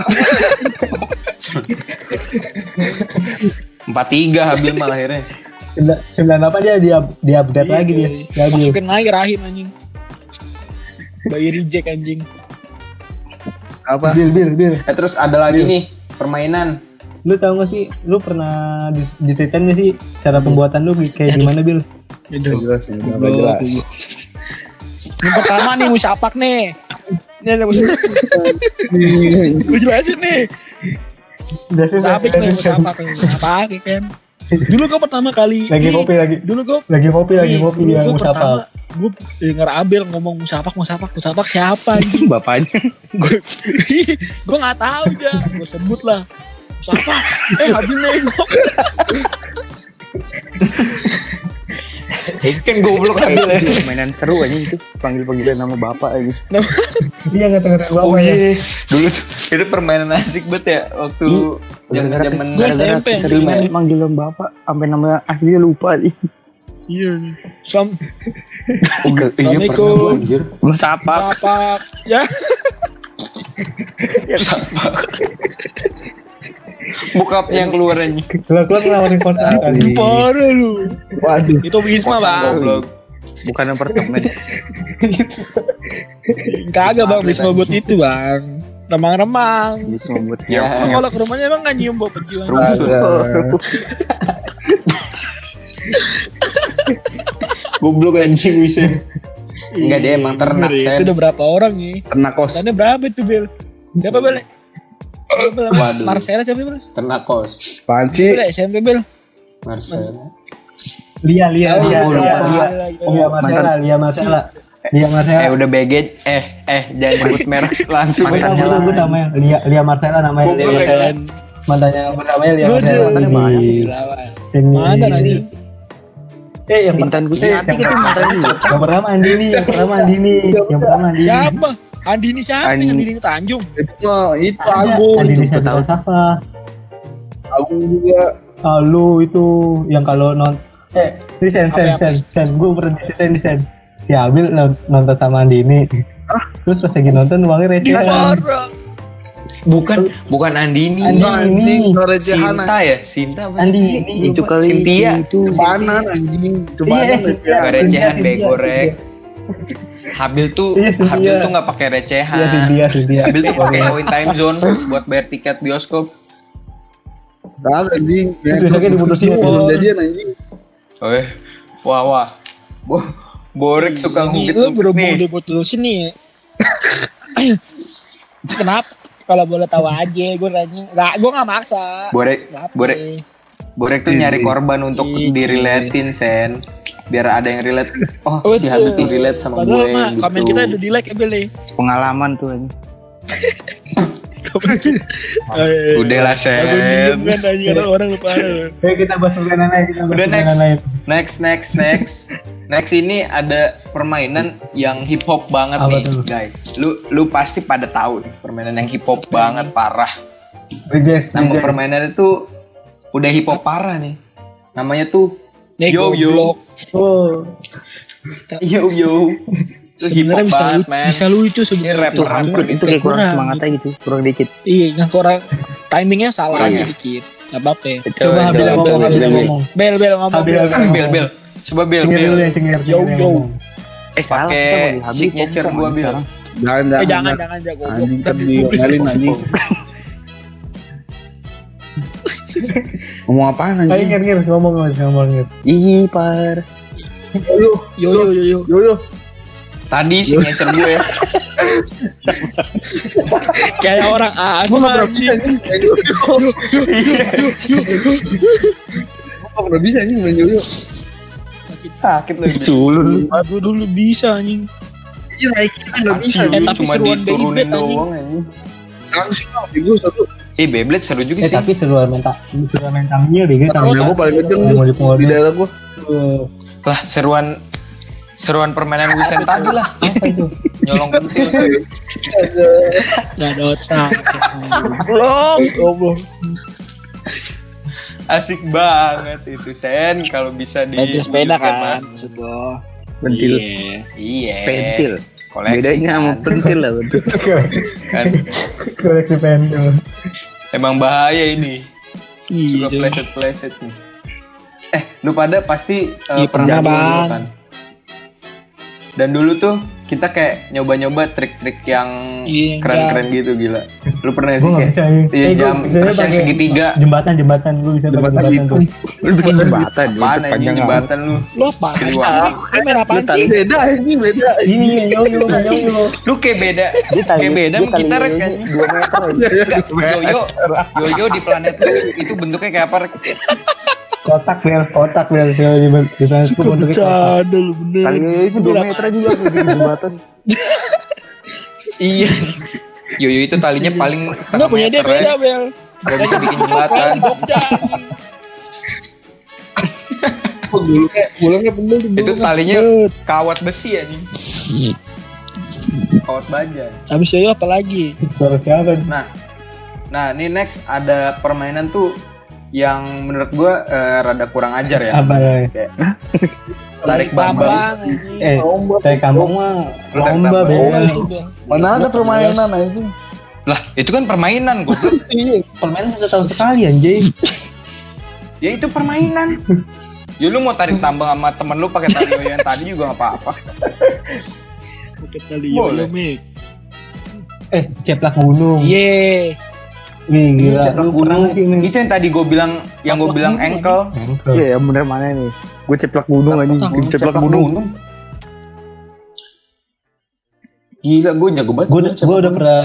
Speaker 1: 43 Habil malah akhirnya.
Speaker 2: sembilan sembilan apa dia dia dia update lagi dia dia update.
Speaker 4: masukin lagi rahim anjing bayi reject anjing
Speaker 6: apa?
Speaker 2: Bil, bil, bil.
Speaker 1: Eh terus ada lagi nih permainan.
Speaker 2: Lu tau gak sih, lu pernah dis- diceritain gak sih cara pembuatan lu kayak gimana, Bil?
Speaker 6: Gak jelas ya, gak jelas.
Speaker 4: yang pertama nih musapak nih ini
Speaker 2: Iya,
Speaker 4: ada musapak lu jelasin nih musapak nih musapak nih musapak ya kan dulu kau pertama kali
Speaker 2: Lagi kopi, lagi
Speaker 4: dulu gue
Speaker 2: lagi kopi, lagi kopi Iya, dia
Speaker 4: Iya, pertama
Speaker 2: musapa.
Speaker 4: gue denger Abel ngomong musapak musapak musapak siapa anjing
Speaker 5: bapaknya
Speaker 4: gue gue nggak tahu aja gue sebut lah siapa eh Habil nengok
Speaker 1: Eh, kan goblok Habil.
Speaker 5: mainan seru aja itu panggil panggilan nama bapak aja
Speaker 2: Dia Iya, nggak dengerin gua
Speaker 1: Oh
Speaker 2: apa ya?
Speaker 1: iya, dulu tuh Itu permainan asik banget ya waktu zaman zaman Oh, iya,
Speaker 4: Gua SMP.
Speaker 5: Seringan manggil om bapak sampai namanya akhirnya lupa sih.
Speaker 4: Iya. Sam
Speaker 7: Iya pernah
Speaker 4: Assalamualaikum.
Speaker 7: gua, anjir.
Speaker 5: Lu sapak.
Speaker 4: apa? Ya.
Speaker 1: bokapnya yang keluar anjing.
Speaker 2: Keluar keluar ngelawanin kontak
Speaker 5: Iya.
Speaker 2: kali.
Speaker 4: Parah lu.
Speaker 6: Waduh.
Speaker 4: Itu Wisma,
Speaker 1: Kosan
Speaker 4: Bang.
Speaker 1: goblok.
Speaker 7: Bukan apartemen.
Speaker 4: Kagak, Bang. Wisma buat itu, Bang. Remang-remang.
Speaker 7: Bisa membuat
Speaker 1: Ya.
Speaker 5: Iya.
Speaker 4: Masa kalau ke rumahnya emang gak nyium bau pejuang?
Speaker 6: Goblok anjing Wisem.
Speaker 1: Enggak dia emang ternak
Speaker 4: Ngeri. Itu
Speaker 1: Sen.
Speaker 4: udah berapa orang nih?
Speaker 6: Ternak kos.
Speaker 4: Tanda berapa itu, Bel? Siapa, Bel? Siapa, Bel?
Speaker 1: Waduh.
Speaker 4: Marcella siapa, Bel? Itu
Speaker 1: Ternak kos.
Speaker 6: Apaan sih?
Speaker 4: udah SMP, Bel.
Speaker 1: Marcel.
Speaker 2: Lia Lia
Speaker 4: Oh,
Speaker 2: Lia
Speaker 1: lupa.
Speaker 2: Lia Lia. Lia Marcela Lia Marcela. Lia Marcela.
Speaker 1: Eh udah BG eh eh jangan sebut merek langsung.
Speaker 2: Gue tau, gue tau, gue namanya Lia, Lia Marcella namanya Lia Marcella Mantannya pertamanya Lia
Speaker 4: Waduh.
Speaker 2: Marcella Mantannya banyak Ini
Speaker 4: Mana
Speaker 5: Iya.
Speaker 4: tadi?
Speaker 2: Eh yang pertama gue Yang pertama Yang pertama Andini Yang pertama Andini Yang pertama Andini
Speaker 4: Siapa? Andini siapa?
Speaker 7: Andi.
Speaker 4: Andini Tanjung.
Speaker 6: Oh, itu
Speaker 2: Ada,
Speaker 6: aku.
Speaker 2: Andini Syafia Mustafa
Speaker 6: Aku juga.
Speaker 2: Lalu Ah, itu Yang kalau non Eh ini Sen Sen
Speaker 4: Apa, apa?
Speaker 2: Sen Sen Gue pernah ceritain di Sen Diambil non- nonton sama Andini Terus pas lagi nonton uangnya recehan
Speaker 4: Parah.
Speaker 1: Bukan bukan Andini.
Speaker 2: Andini
Speaker 6: Nah, Nora Jahana.
Speaker 1: Sinta ya, Sinta apa?
Speaker 2: Andini
Speaker 5: Itu kali
Speaker 1: Cynthia.
Speaker 5: si itu.
Speaker 6: Kebanan anjing.
Speaker 2: Iya,
Speaker 6: Kebanan.
Speaker 2: iya,
Speaker 1: Gak recehan
Speaker 2: iya,
Speaker 1: bego
Speaker 2: iya,
Speaker 1: rek. Habil tuh
Speaker 2: Iya, Cynthia.
Speaker 1: Habil tuh nggak pakai
Speaker 2: Iya, Cynthia,
Speaker 1: recehan.
Speaker 2: Cynthia.
Speaker 1: Habil tuh pakai poin time zone buat bayar tiket bioskop.
Speaker 6: Nah, anjing. Ya,
Speaker 2: Terus besoknya diputusin.
Speaker 6: Belum jadian anjing.
Speaker 1: Eh, wah wah. Bo- Borek suka
Speaker 4: Ini
Speaker 1: ngungkit
Speaker 4: lu
Speaker 1: gitu
Speaker 4: berhubung
Speaker 1: nih.
Speaker 4: di putus ini. Kenapa? Kalau boleh tahu aja, gue nanya. Gak, gue gak maksa.
Speaker 1: Borek,
Speaker 4: Nggak apa
Speaker 1: borek,
Speaker 4: nih.
Speaker 1: borek tuh nyari korban untuk
Speaker 4: Iya.
Speaker 1: diriletin sen. Biar ada yang relate. Oh, si
Speaker 4: Betul.
Speaker 1: Habil tuh relate sama
Speaker 4: Padahal
Speaker 1: gue
Speaker 4: mah komen kita udah
Speaker 1: gitu.
Speaker 4: di like ya Bel ya.
Speaker 5: Pengalaman tuh anjing.
Speaker 4: Komen kita- Eh,
Speaker 1: Udah lah
Speaker 4: Langsung
Speaker 1: sen.
Speaker 4: diem kan anjing karena orang lupa.
Speaker 2: Ayo Eh, kita bahas permainan lain kita bahas
Speaker 1: Udah,
Speaker 2: permainan
Speaker 1: next.
Speaker 2: lain
Speaker 1: Next, next, next. Next ini ada permainan yang hip hop banget
Speaker 2: Apa
Speaker 1: nih,
Speaker 2: tuh?
Speaker 1: guys. Lu lu pasti pada tahu nih permainan yang hip hop banget parah.
Speaker 2: Regas,
Speaker 1: Nama
Speaker 2: Regas.
Speaker 1: permainan itu udah hip hop parah nih. Namanya tuh
Speaker 4: Nih,
Speaker 1: Yo
Speaker 4: goblok.
Speaker 1: yo
Speaker 2: Oh,
Speaker 1: yo yo. Itu hip
Speaker 4: Sebenarnya
Speaker 1: hop
Speaker 4: bisa,
Speaker 1: banget,
Speaker 4: lu-
Speaker 1: man.
Speaker 4: bisa lucu
Speaker 1: Ini
Speaker 4: sebenarnya.
Speaker 1: rap rap
Speaker 5: Itu kayak kurang
Speaker 4: kurang.
Speaker 5: semangatnya gitu, kurang dikit.
Speaker 4: Iya, nggak kurang timingnya salah
Speaker 1: Kurang
Speaker 4: aja
Speaker 1: ya?
Speaker 4: dikit. Gak apa-apa. ya.
Speaker 2: coba Habil yang ngomong, Habil yang ngomong.
Speaker 4: Bel bel ngomong.
Speaker 2: Habil
Speaker 4: Bel.
Speaker 2: yang ngomong.
Speaker 1: Bel bel. Coba
Speaker 4: Iya,
Speaker 1: bel
Speaker 2: Cengir
Speaker 1: bel.
Speaker 2: dulu yang cengir,
Speaker 4: Yo,
Speaker 2: cengir yang
Speaker 4: yo.
Speaker 2: ngomong.
Speaker 5: Eh,
Speaker 1: Pakai signature gua bil.
Speaker 6: Jangan,
Speaker 4: Eh,
Speaker 6: jangan.
Speaker 4: jangan jangan jangan goblok.
Speaker 6: Anjing
Speaker 4: Ntar
Speaker 6: kan diomelin
Speaker 4: dipublis.
Speaker 6: anjing. Ngomong apaan
Speaker 2: Ayo
Speaker 6: anjing?
Speaker 2: ngir, ngir, ngomong, ngir, ngomong, ngir.
Speaker 5: Ih, Iya, par.
Speaker 6: Yo
Speaker 4: Yo yo yo yo.
Speaker 6: yo yo.
Speaker 1: Tadi signature ya. gue.
Speaker 4: Kayak orang asma.
Speaker 6: Gua nggak
Speaker 4: anjing.
Speaker 6: Kok udah bisa anjing main yo yo.
Speaker 1: Sakit lu. Bil.
Speaker 5: Culun.
Speaker 4: Aku dulu bisa anjing.
Speaker 6: Iya, naik kita nggak bisa.
Speaker 1: Anjing,
Speaker 4: Eh, tapi
Speaker 1: cuma
Speaker 4: seruan dari
Speaker 1: diturunin
Speaker 4: bed, anjing.
Speaker 1: doang anjing.
Speaker 6: Langsung lah, gue satu.
Speaker 1: Eh, Beyblade seru juga
Speaker 2: Eh,
Speaker 1: sih.
Speaker 2: tapi seruan mental, seruan mentalnya deh, kita
Speaker 6: Tangan gue paling kenceng
Speaker 2: Yang mau
Speaker 6: tuh, di
Speaker 2: dipengaruhi.
Speaker 6: daerah gue.
Speaker 1: lah seruan seruan permainan Wisan tadi lah nyolong pentil
Speaker 4: Gak ada otak.
Speaker 1: asik banget itu Sen kalau bisa di
Speaker 4: Pentil sepeda
Speaker 1: diwujudkan,
Speaker 4: kan
Speaker 1: mah.
Speaker 4: maksud lo.
Speaker 5: Pentil.
Speaker 1: iya
Speaker 5: Eh. Pentil.
Speaker 1: koleksi
Speaker 5: Bedanya sama
Speaker 1: kan.
Speaker 5: pentil lah betul.
Speaker 1: Kan.
Speaker 2: Koleksi pentil.
Speaker 1: emang bahaya ini suka
Speaker 4: Iya.
Speaker 1: pleset pleset nih eh lu pada pasti eh,
Speaker 4: Iya, pernah,
Speaker 1: dulu
Speaker 4: Bang.
Speaker 1: kan? dan dulu tuh kita kayak nyoba-nyoba trik-trik yang
Speaker 4: Iya,
Speaker 1: keren-keren gitu gila lu pernah
Speaker 2: Gue
Speaker 1: sih kayak
Speaker 2: nggak bisa, iya.
Speaker 1: iya
Speaker 2: Eh, gua
Speaker 1: jam
Speaker 2: bisanya
Speaker 1: terus yang
Speaker 2: pakai
Speaker 1: segitiga
Speaker 2: Jembatan, jembatan, gue bisa pakai
Speaker 6: Jembatan
Speaker 2: jembatan
Speaker 6: itu.
Speaker 2: tuh.
Speaker 5: Lu bikin jembatan ya,
Speaker 1: apaan anjing
Speaker 5: sepanjang
Speaker 1: jembatan lu
Speaker 4: Lo apa?
Speaker 1: Siliwangi.
Speaker 4: Ini merah apaan sih?
Speaker 6: Beda anjing, beda.
Speaker 2: Ini, yo, yo, yo, yo.
Speaker 1: lu kayak beda kayak beda sama kita rek kan yoyo yoyo di planet lu itu bentuknya kayak apa rek
Speaker 2: Kotak, Bel, kotak, Bel. Bel, di di sana itu
Speaker 4: Suka
Speaker 2: bentuknya kotak.
Speaker 4: bercanda lu bener.
Speaker 5: Kali Kan, eh, itu 2 meter juga lu bikin jembatan.
Speaker 1: iya yoyo itu talinya paling
Speaker 4: Lo
Speaker 1: setengah
Speaker 4: punya dia
Speaker 1: meter
Speaker 4: beda
Speaker 1: ya
Speaker 4: bel.
Speaker 1: gak bisa bikin jembatan
Speaker 4: Bogda.
Speaker 6: Pulangnya pegel tuh.
Speaker 1: ya, itu talinya kawat besi anjing Paus bajai.
Speaker 4: Habis yoyo apa lagi?
Speaker 2: Suara siapa?
Speaker 1: Nah, nah ini next ada permainan tuh yang menurut gua eh, rada kurang ajar ya.
Speaker 2: Apa ya?
Speaker 1: Tarik bambang.
Speaker 2: Eh, saya kampung mah
Speaker 1: Lu tarik
Speaker 2: lomba
Speaker 1: bambang.
Speaker 4: Iya,
Speaker 2: beda.
Speaker 6: Mana ada permainan aja.
Speaker 1: Lah, itu kan permainan gua.
Speaker 2: Iya, Permainan satu tahun sekali anjing.
Speaker 1: ya itu permainan. Ya lu mau tarik tambang sama temen lu pakai tali yoyo yang tadi juga gak apa-apa.
Speaker 4: Kali
Speaker 1: Boleh.
Speaker 4: yoyo Mik.
Speaker 2: Eh, ceplak gunung.
Speaker 4: Iya. Ye.
Speaker 2: Wih, gila.
Speaker 1: Cetak
Speaker 2: Iya, Lu pernah
Speaker 1: gunung. Iya.
Speaker 2: nggak sih ini?
Speaker 1: Itu yang tadi gua bilang, yang gua bilang ankle.
Speaker 7: Iya, yang bener mana nih? Gue ceplak gunung aja, gue ceplak gunung.
Speaker 1: gunung. Gila, gue jago banget.
Speaker 2: Gue gue udah pernah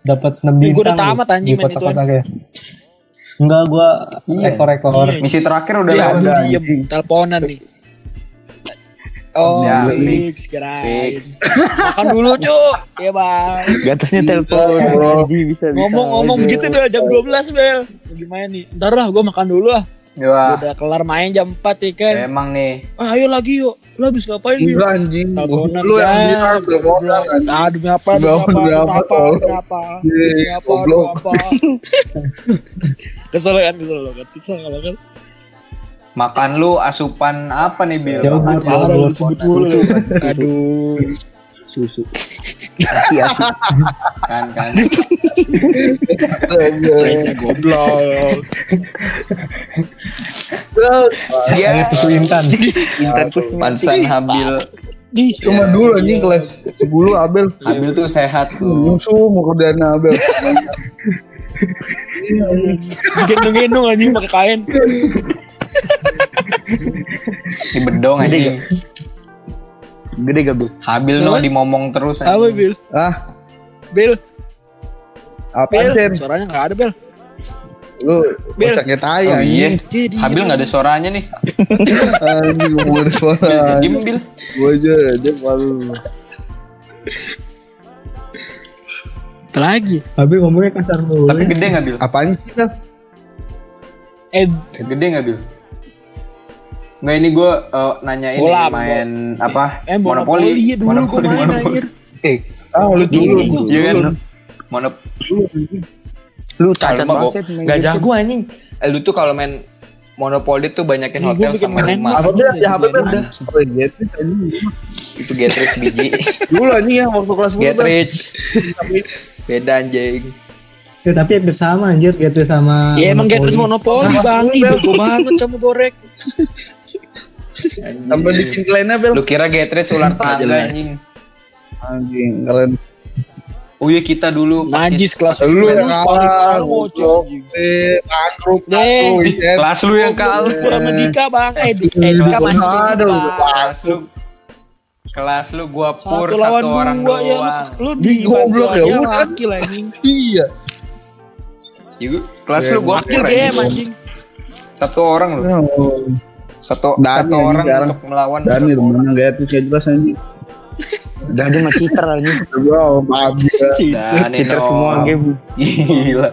Speaker 2: dapat 6
Speaker 4: Ih,
Speaker 2: bintang.
Speaker 4: gua udah
Speaker 2: nih,
Speaker 4: tamat, anjing,
Speaker 2: di
Speaker 4: main
Speaker 2: kota-kota
Speaker 4: ituan.
Speaker 2: kayak. Enggak, gue
Speaker 1: Iya.
Speaker 2: ekor-ekor.
Speaker 1: Misi terakhir udah
Speaker 2: Iya,
Speaker 4: Dia
Speaker 1: ada.
Speaker 4: Iya, diem teleponan nih. Oh,
Speaker 1: Ya,
Speaker 4: fix,
Speaker 1: fix,
Speaker 4: kirain.
Speaker 1: Fix.
Speaker 4: Makan dulu, Cuk. Iya, Bang.
Speaker 7: Gatasnya telepon. Anjing, bisa bisa.
Speaker 4: Ngomong-ngomong gitu udah jam 12, Bel. Gimana nih? Ntar lah, gue makan dulu ah. Gua
Speaker 1: Wah,
Speaker 4: Udah kelar main jam 4 ya kan.
Speaker 1: emang nih.
Speaker 4: Ah, ayo lagi yuk. Lo habis ngapain, Bil?
Speaker 6: Enggak anjing.
Speaker 4: Teleponan,
Speaker 6: Lu yang
Speaker 4: Bel.
Speaker 6: bilang teleponan anjing.
Speaker 4: Ah, demi apa? Demi
Speaker 6: Berapa,
Speaker 4: apa? Demi
Speaker 6: berapa,
Speaker 4: apa?
Speaker 6: tolong.
Speaker 4: Demi apa?
Speaker 6: Iya,
Speaker 4: Demi apa? Demi
Speaker 6: goblok.
Speaker 4: apa? Kesel kan, kesel kan. Kesel kalau kan.
Speaker 1: Makan lu asupan apa nih, Bil?
Speaker 2: Jauh
Speaker 1: Makan
Speaker 2: banget, parah
Speaker 1: lu
Speaker 2: lu
Speaker 1: asupan
Speaker 4: sebut mulu.
Speaker 1: susu, kan?
Speaker 4: Aduh.
Speaker 7: Susu. Asi, asi.
Speaker 1: Kan, kan.
Speaker 4: Ya, goblok.
Speaker 1: Iya.
Speaker 2: Pengen susu intan.
Speaker 7: Intanku semangat.
Speaker 1: Pantesan Habil.
Speaker 4: Di,
Speaker 6: Cuma dulu anjing kelas 10 Abel.
Speaker 1: Habil tuh sehat tuh.
Speaker 6: Musuh mau ke dana Abel.
Speaker 4: gendong-gendong anjing pakai kain.
Speaker 1: Di bedong aja.
Speaker 7: Gede gak, Bel?
Speaker 1: Habil lu
Speaker 4: Terus?
Speaker 1: dimomong terus
Speaker 4: Apa,
Speaker 1: anjing.
Speaker 4: Bil?
Speaker 6: Ah,
Speaker 4: Bil, Bil.
Speaker 6: apaan Sen?
Speaker 4: Suaranya nggak ada, Bil.
Speaker 6: Lu
Speaker 4: Bil.
Speaker 6: sakit
Speaker 1: Oh, iya.
Speaker 6: ayah anjing. Ah,
Speaker 4: Jadi, kan-
Speaker 1: Habil nggak ada suaranya nih.
Speaker 6: Anjing ngomong ada
Speaker 1: Bil,
Speaker 6: suara.
Speaker 1: Diem, Bil.
Speaker 6: Gue aja dia malu.
Speaker 4: Apa lagi?
Speaker 2: Habis ngomongnya kasar mulu.
Speaker 1: Tapi gede nggak, Bil?
Speaker 6: Apaan sih kan?
Speaker 4: Eh,
Speaker 1: Gede nggak, Bil? Nggak ini gue nanya ini
Speaker 4: Bola,
Speaker 1: main apa?
Speaker 4: eh
Speaker 1: Monopoli.
Speaker 4: Iya dulu gue main anjir. Eh,
Speaker 6: Ah, lu dulu.
Speaker 1: Iya kan? Monop
Speaker 7: Lu
Speaker 1: Cacat
Speaker 7: cacat banget. Set, main
Speaker 1: Gak
Speaker 7: gitu.
Speaker 1: jago anjing. Eh, Lu tuh kalau main Monopoly tuh banyakin
Speaker 4: Iya,
Speaker 1: hotel
Speaker 4: gua bikin
Speaker 1: sama
Speaker 4: main
Speaker 1: rumah.
Speaker 6: Apa dia di HP
Speaker 4: Iya,
Speaker 6: kan?
Speaker 4: iya.
Speaker 6: Oh, Getrich anjing.
Speaker 1: Itu Getrich biji.
Speaker 6: Dulu anjing ya waktu kelas 10 Bel.
Speaker 1: Getrich. Beda anjing.
Speaker 2: Ya, tapi hampir sama anjir, gitu sama.
Speaker 4: Ya emang
Speaker 2: Monopoly.
Speaker 4: Getrich monopoli bang, Ih, bego banget kamu gorek.
Speaker 6: Tambah
Speaker 7: Iya.
Speaker 6: bikin kelennya Bel.
Speaker 1: Lu kira Getrich ular tangga anjing.
Speaker 6: Anjing keren.
Speaker 1: Oh iya kita dulu
Speaker 4: Najis kelas
Speaker 6: Lu
Speaker 4: sepuluh,
Speaker 6: yang
Speaker 4: paling
Speaker 6: kalah.
Speaker 4: kamu,
Speaker 6: goblok.
Speaker 4: Cok.
Speaker 6: Eh, angkruk
Speaker 4: Nih.
Speaker 6: aku. Sen.
Speaker 1: kelas lu ya, yang kalah.
Speaker 4: Kurang mendika bang, eh di- eh, Dika masih
Speaker 6: Aduh,
Speaker 4: mendika.
Speaker 1: Kelas lu kelas lu gua pur
Speaker 4: Satu
Speaker 1: satu,
Speaker 4: lawan
Speaker 1: orang
Speaker 4: dua
Speaker 1: doang.
Speaker 4: ya
Speaker 1: Ya,
Speaker 4: lu, lu
Speaker 6: Di
Speaker 4: di
Speaker 6: goblok ya,
Speaker 4: bantuannya
Speaker 6: udah.
Speaker 4: Wakil anjing,
Speaker 6: Iya.
Speaker 1: kelas lu Iya, gua
Speaker 4: wakil
Speaker 1: pur.
Speaker 4: game
Speaker 1: anjing.
Speaker 4: anjing.
Speaker 1: Satu orang
Speaker 6: Ya
Speaker 1: lu. Satu
Speaker 6: Dani
Speaker 1: satu
Speaker 6: anjing
Speaker 1: orang
Speaker 6: sekarang.
Speaker 1: untuk melawan
Speaker 6: Dani menang gratis gak ya? jelas anjing.
Speaker 7: Udah ada mah cheater anjing.
Speaker 6: Wow, maaf ya.
Speaker 1: Dan
Speaker 7: Cheater semua game.
Speaker 1: Gila.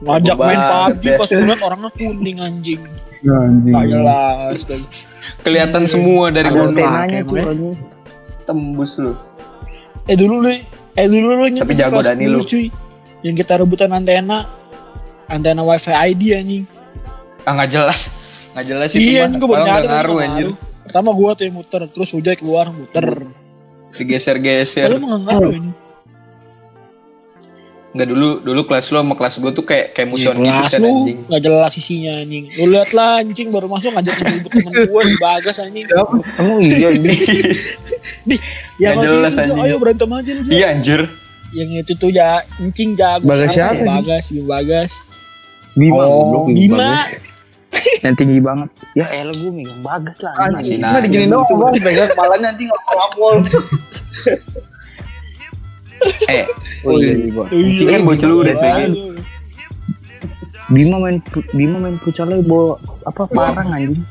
Speaker 4: Ngajak main
Speaker 1: Banget
Speaker 4: PUBG
Speaker 1: deh.
Speaker 4: pas ngeliat orangnya kuning anjing.
Speaker 6: Hmm. Anjing.
Speaker 4: Tak jelas. dan-
Speaker 1: Kelihatan semua dari
Speaker 7: Ada
Speaker 1: gunung.
Speaker 7: antenanya tuh anjing.
Speaker 1: Tembus lu.
Speaker 4: Eh dulu lu, eh dulu lu nyetir
Speaker 1: jago,
Speaker 4: kelas
Speaker 1: Dani, lu.
Speaker 4: 10, cuy. Yang kita rebutan antena, antena wifi ID anjing.
Speaker 1: Ah nggak jelas. Nggak jelas itu
Speaker 4: Iya,
Speaker 1: mah.
Speaker 4: gue
Speaker 1: Kalau
Speaker 4: benar
Speaker 1: nggak ngaruh anjir.
Speaker 4: Pertama gua tuh yang muter, terus Ujai keluar muter.
Speaker 1: Hmm.
Speaker 4: Kalau
Speaker 1: Digeser-geser.
Speaker 4: emang nggak ngaruh ini.
Speaker 1: Nggak dulu dulu kelas lu sama kelas gua tuh kayak kayak
Speaker 4: Iya,
Speaker 1: musuhan gitu
Speaker 4: kelas
Speaker 1: Sen,
Speaker 4: lu
Speaker 1: anjing.
Speaker 4: nggak jelas isinya anjing. Lu liat lah anjing baru masuk ngajak ribut temen gua di bagas anjing.
Speaker 7: Emang iya anjing.
Speaker 1: Nggak
Speaker 4: Yang
Speaker 1: jelas, anjing.
Speaker 4: ya gitu, Ayo berantem aja lu. Jo.
Speaker 1: Iya anjir.
Speaker 4: Yang itu tuh ya encing jago.
Speaker 6: Bagas
Speaker 4: sekarang,
Speaker 6: siapa,
Speaker 4: ya, Bagas, Bim Bagas.
Speaker 7: Bima
Speaker 6: Oh,
Speaker 7: goblok,
Speaker 4: Bima.
Speaker 7: bagus. Yang tinggi banget. Ya elah gue megang bagas lah. anjing.
Speaker 1: Anjing.
Speaker 6: Enggak digini doang, Bang. Pegang kepalanya anjing ngapol-ngapol.
Speaker 1: Eh,
Speaker 7: Oh iya, iya, Bang.
Speaker 1: Anjing kan bocil lu udah,
Speaker 4: Iya,
Speaker 1: anjing.
Speaker 4: lu.
Speaker 7: Bima main pu- Bima main futsalnya bawa apa parang anjing.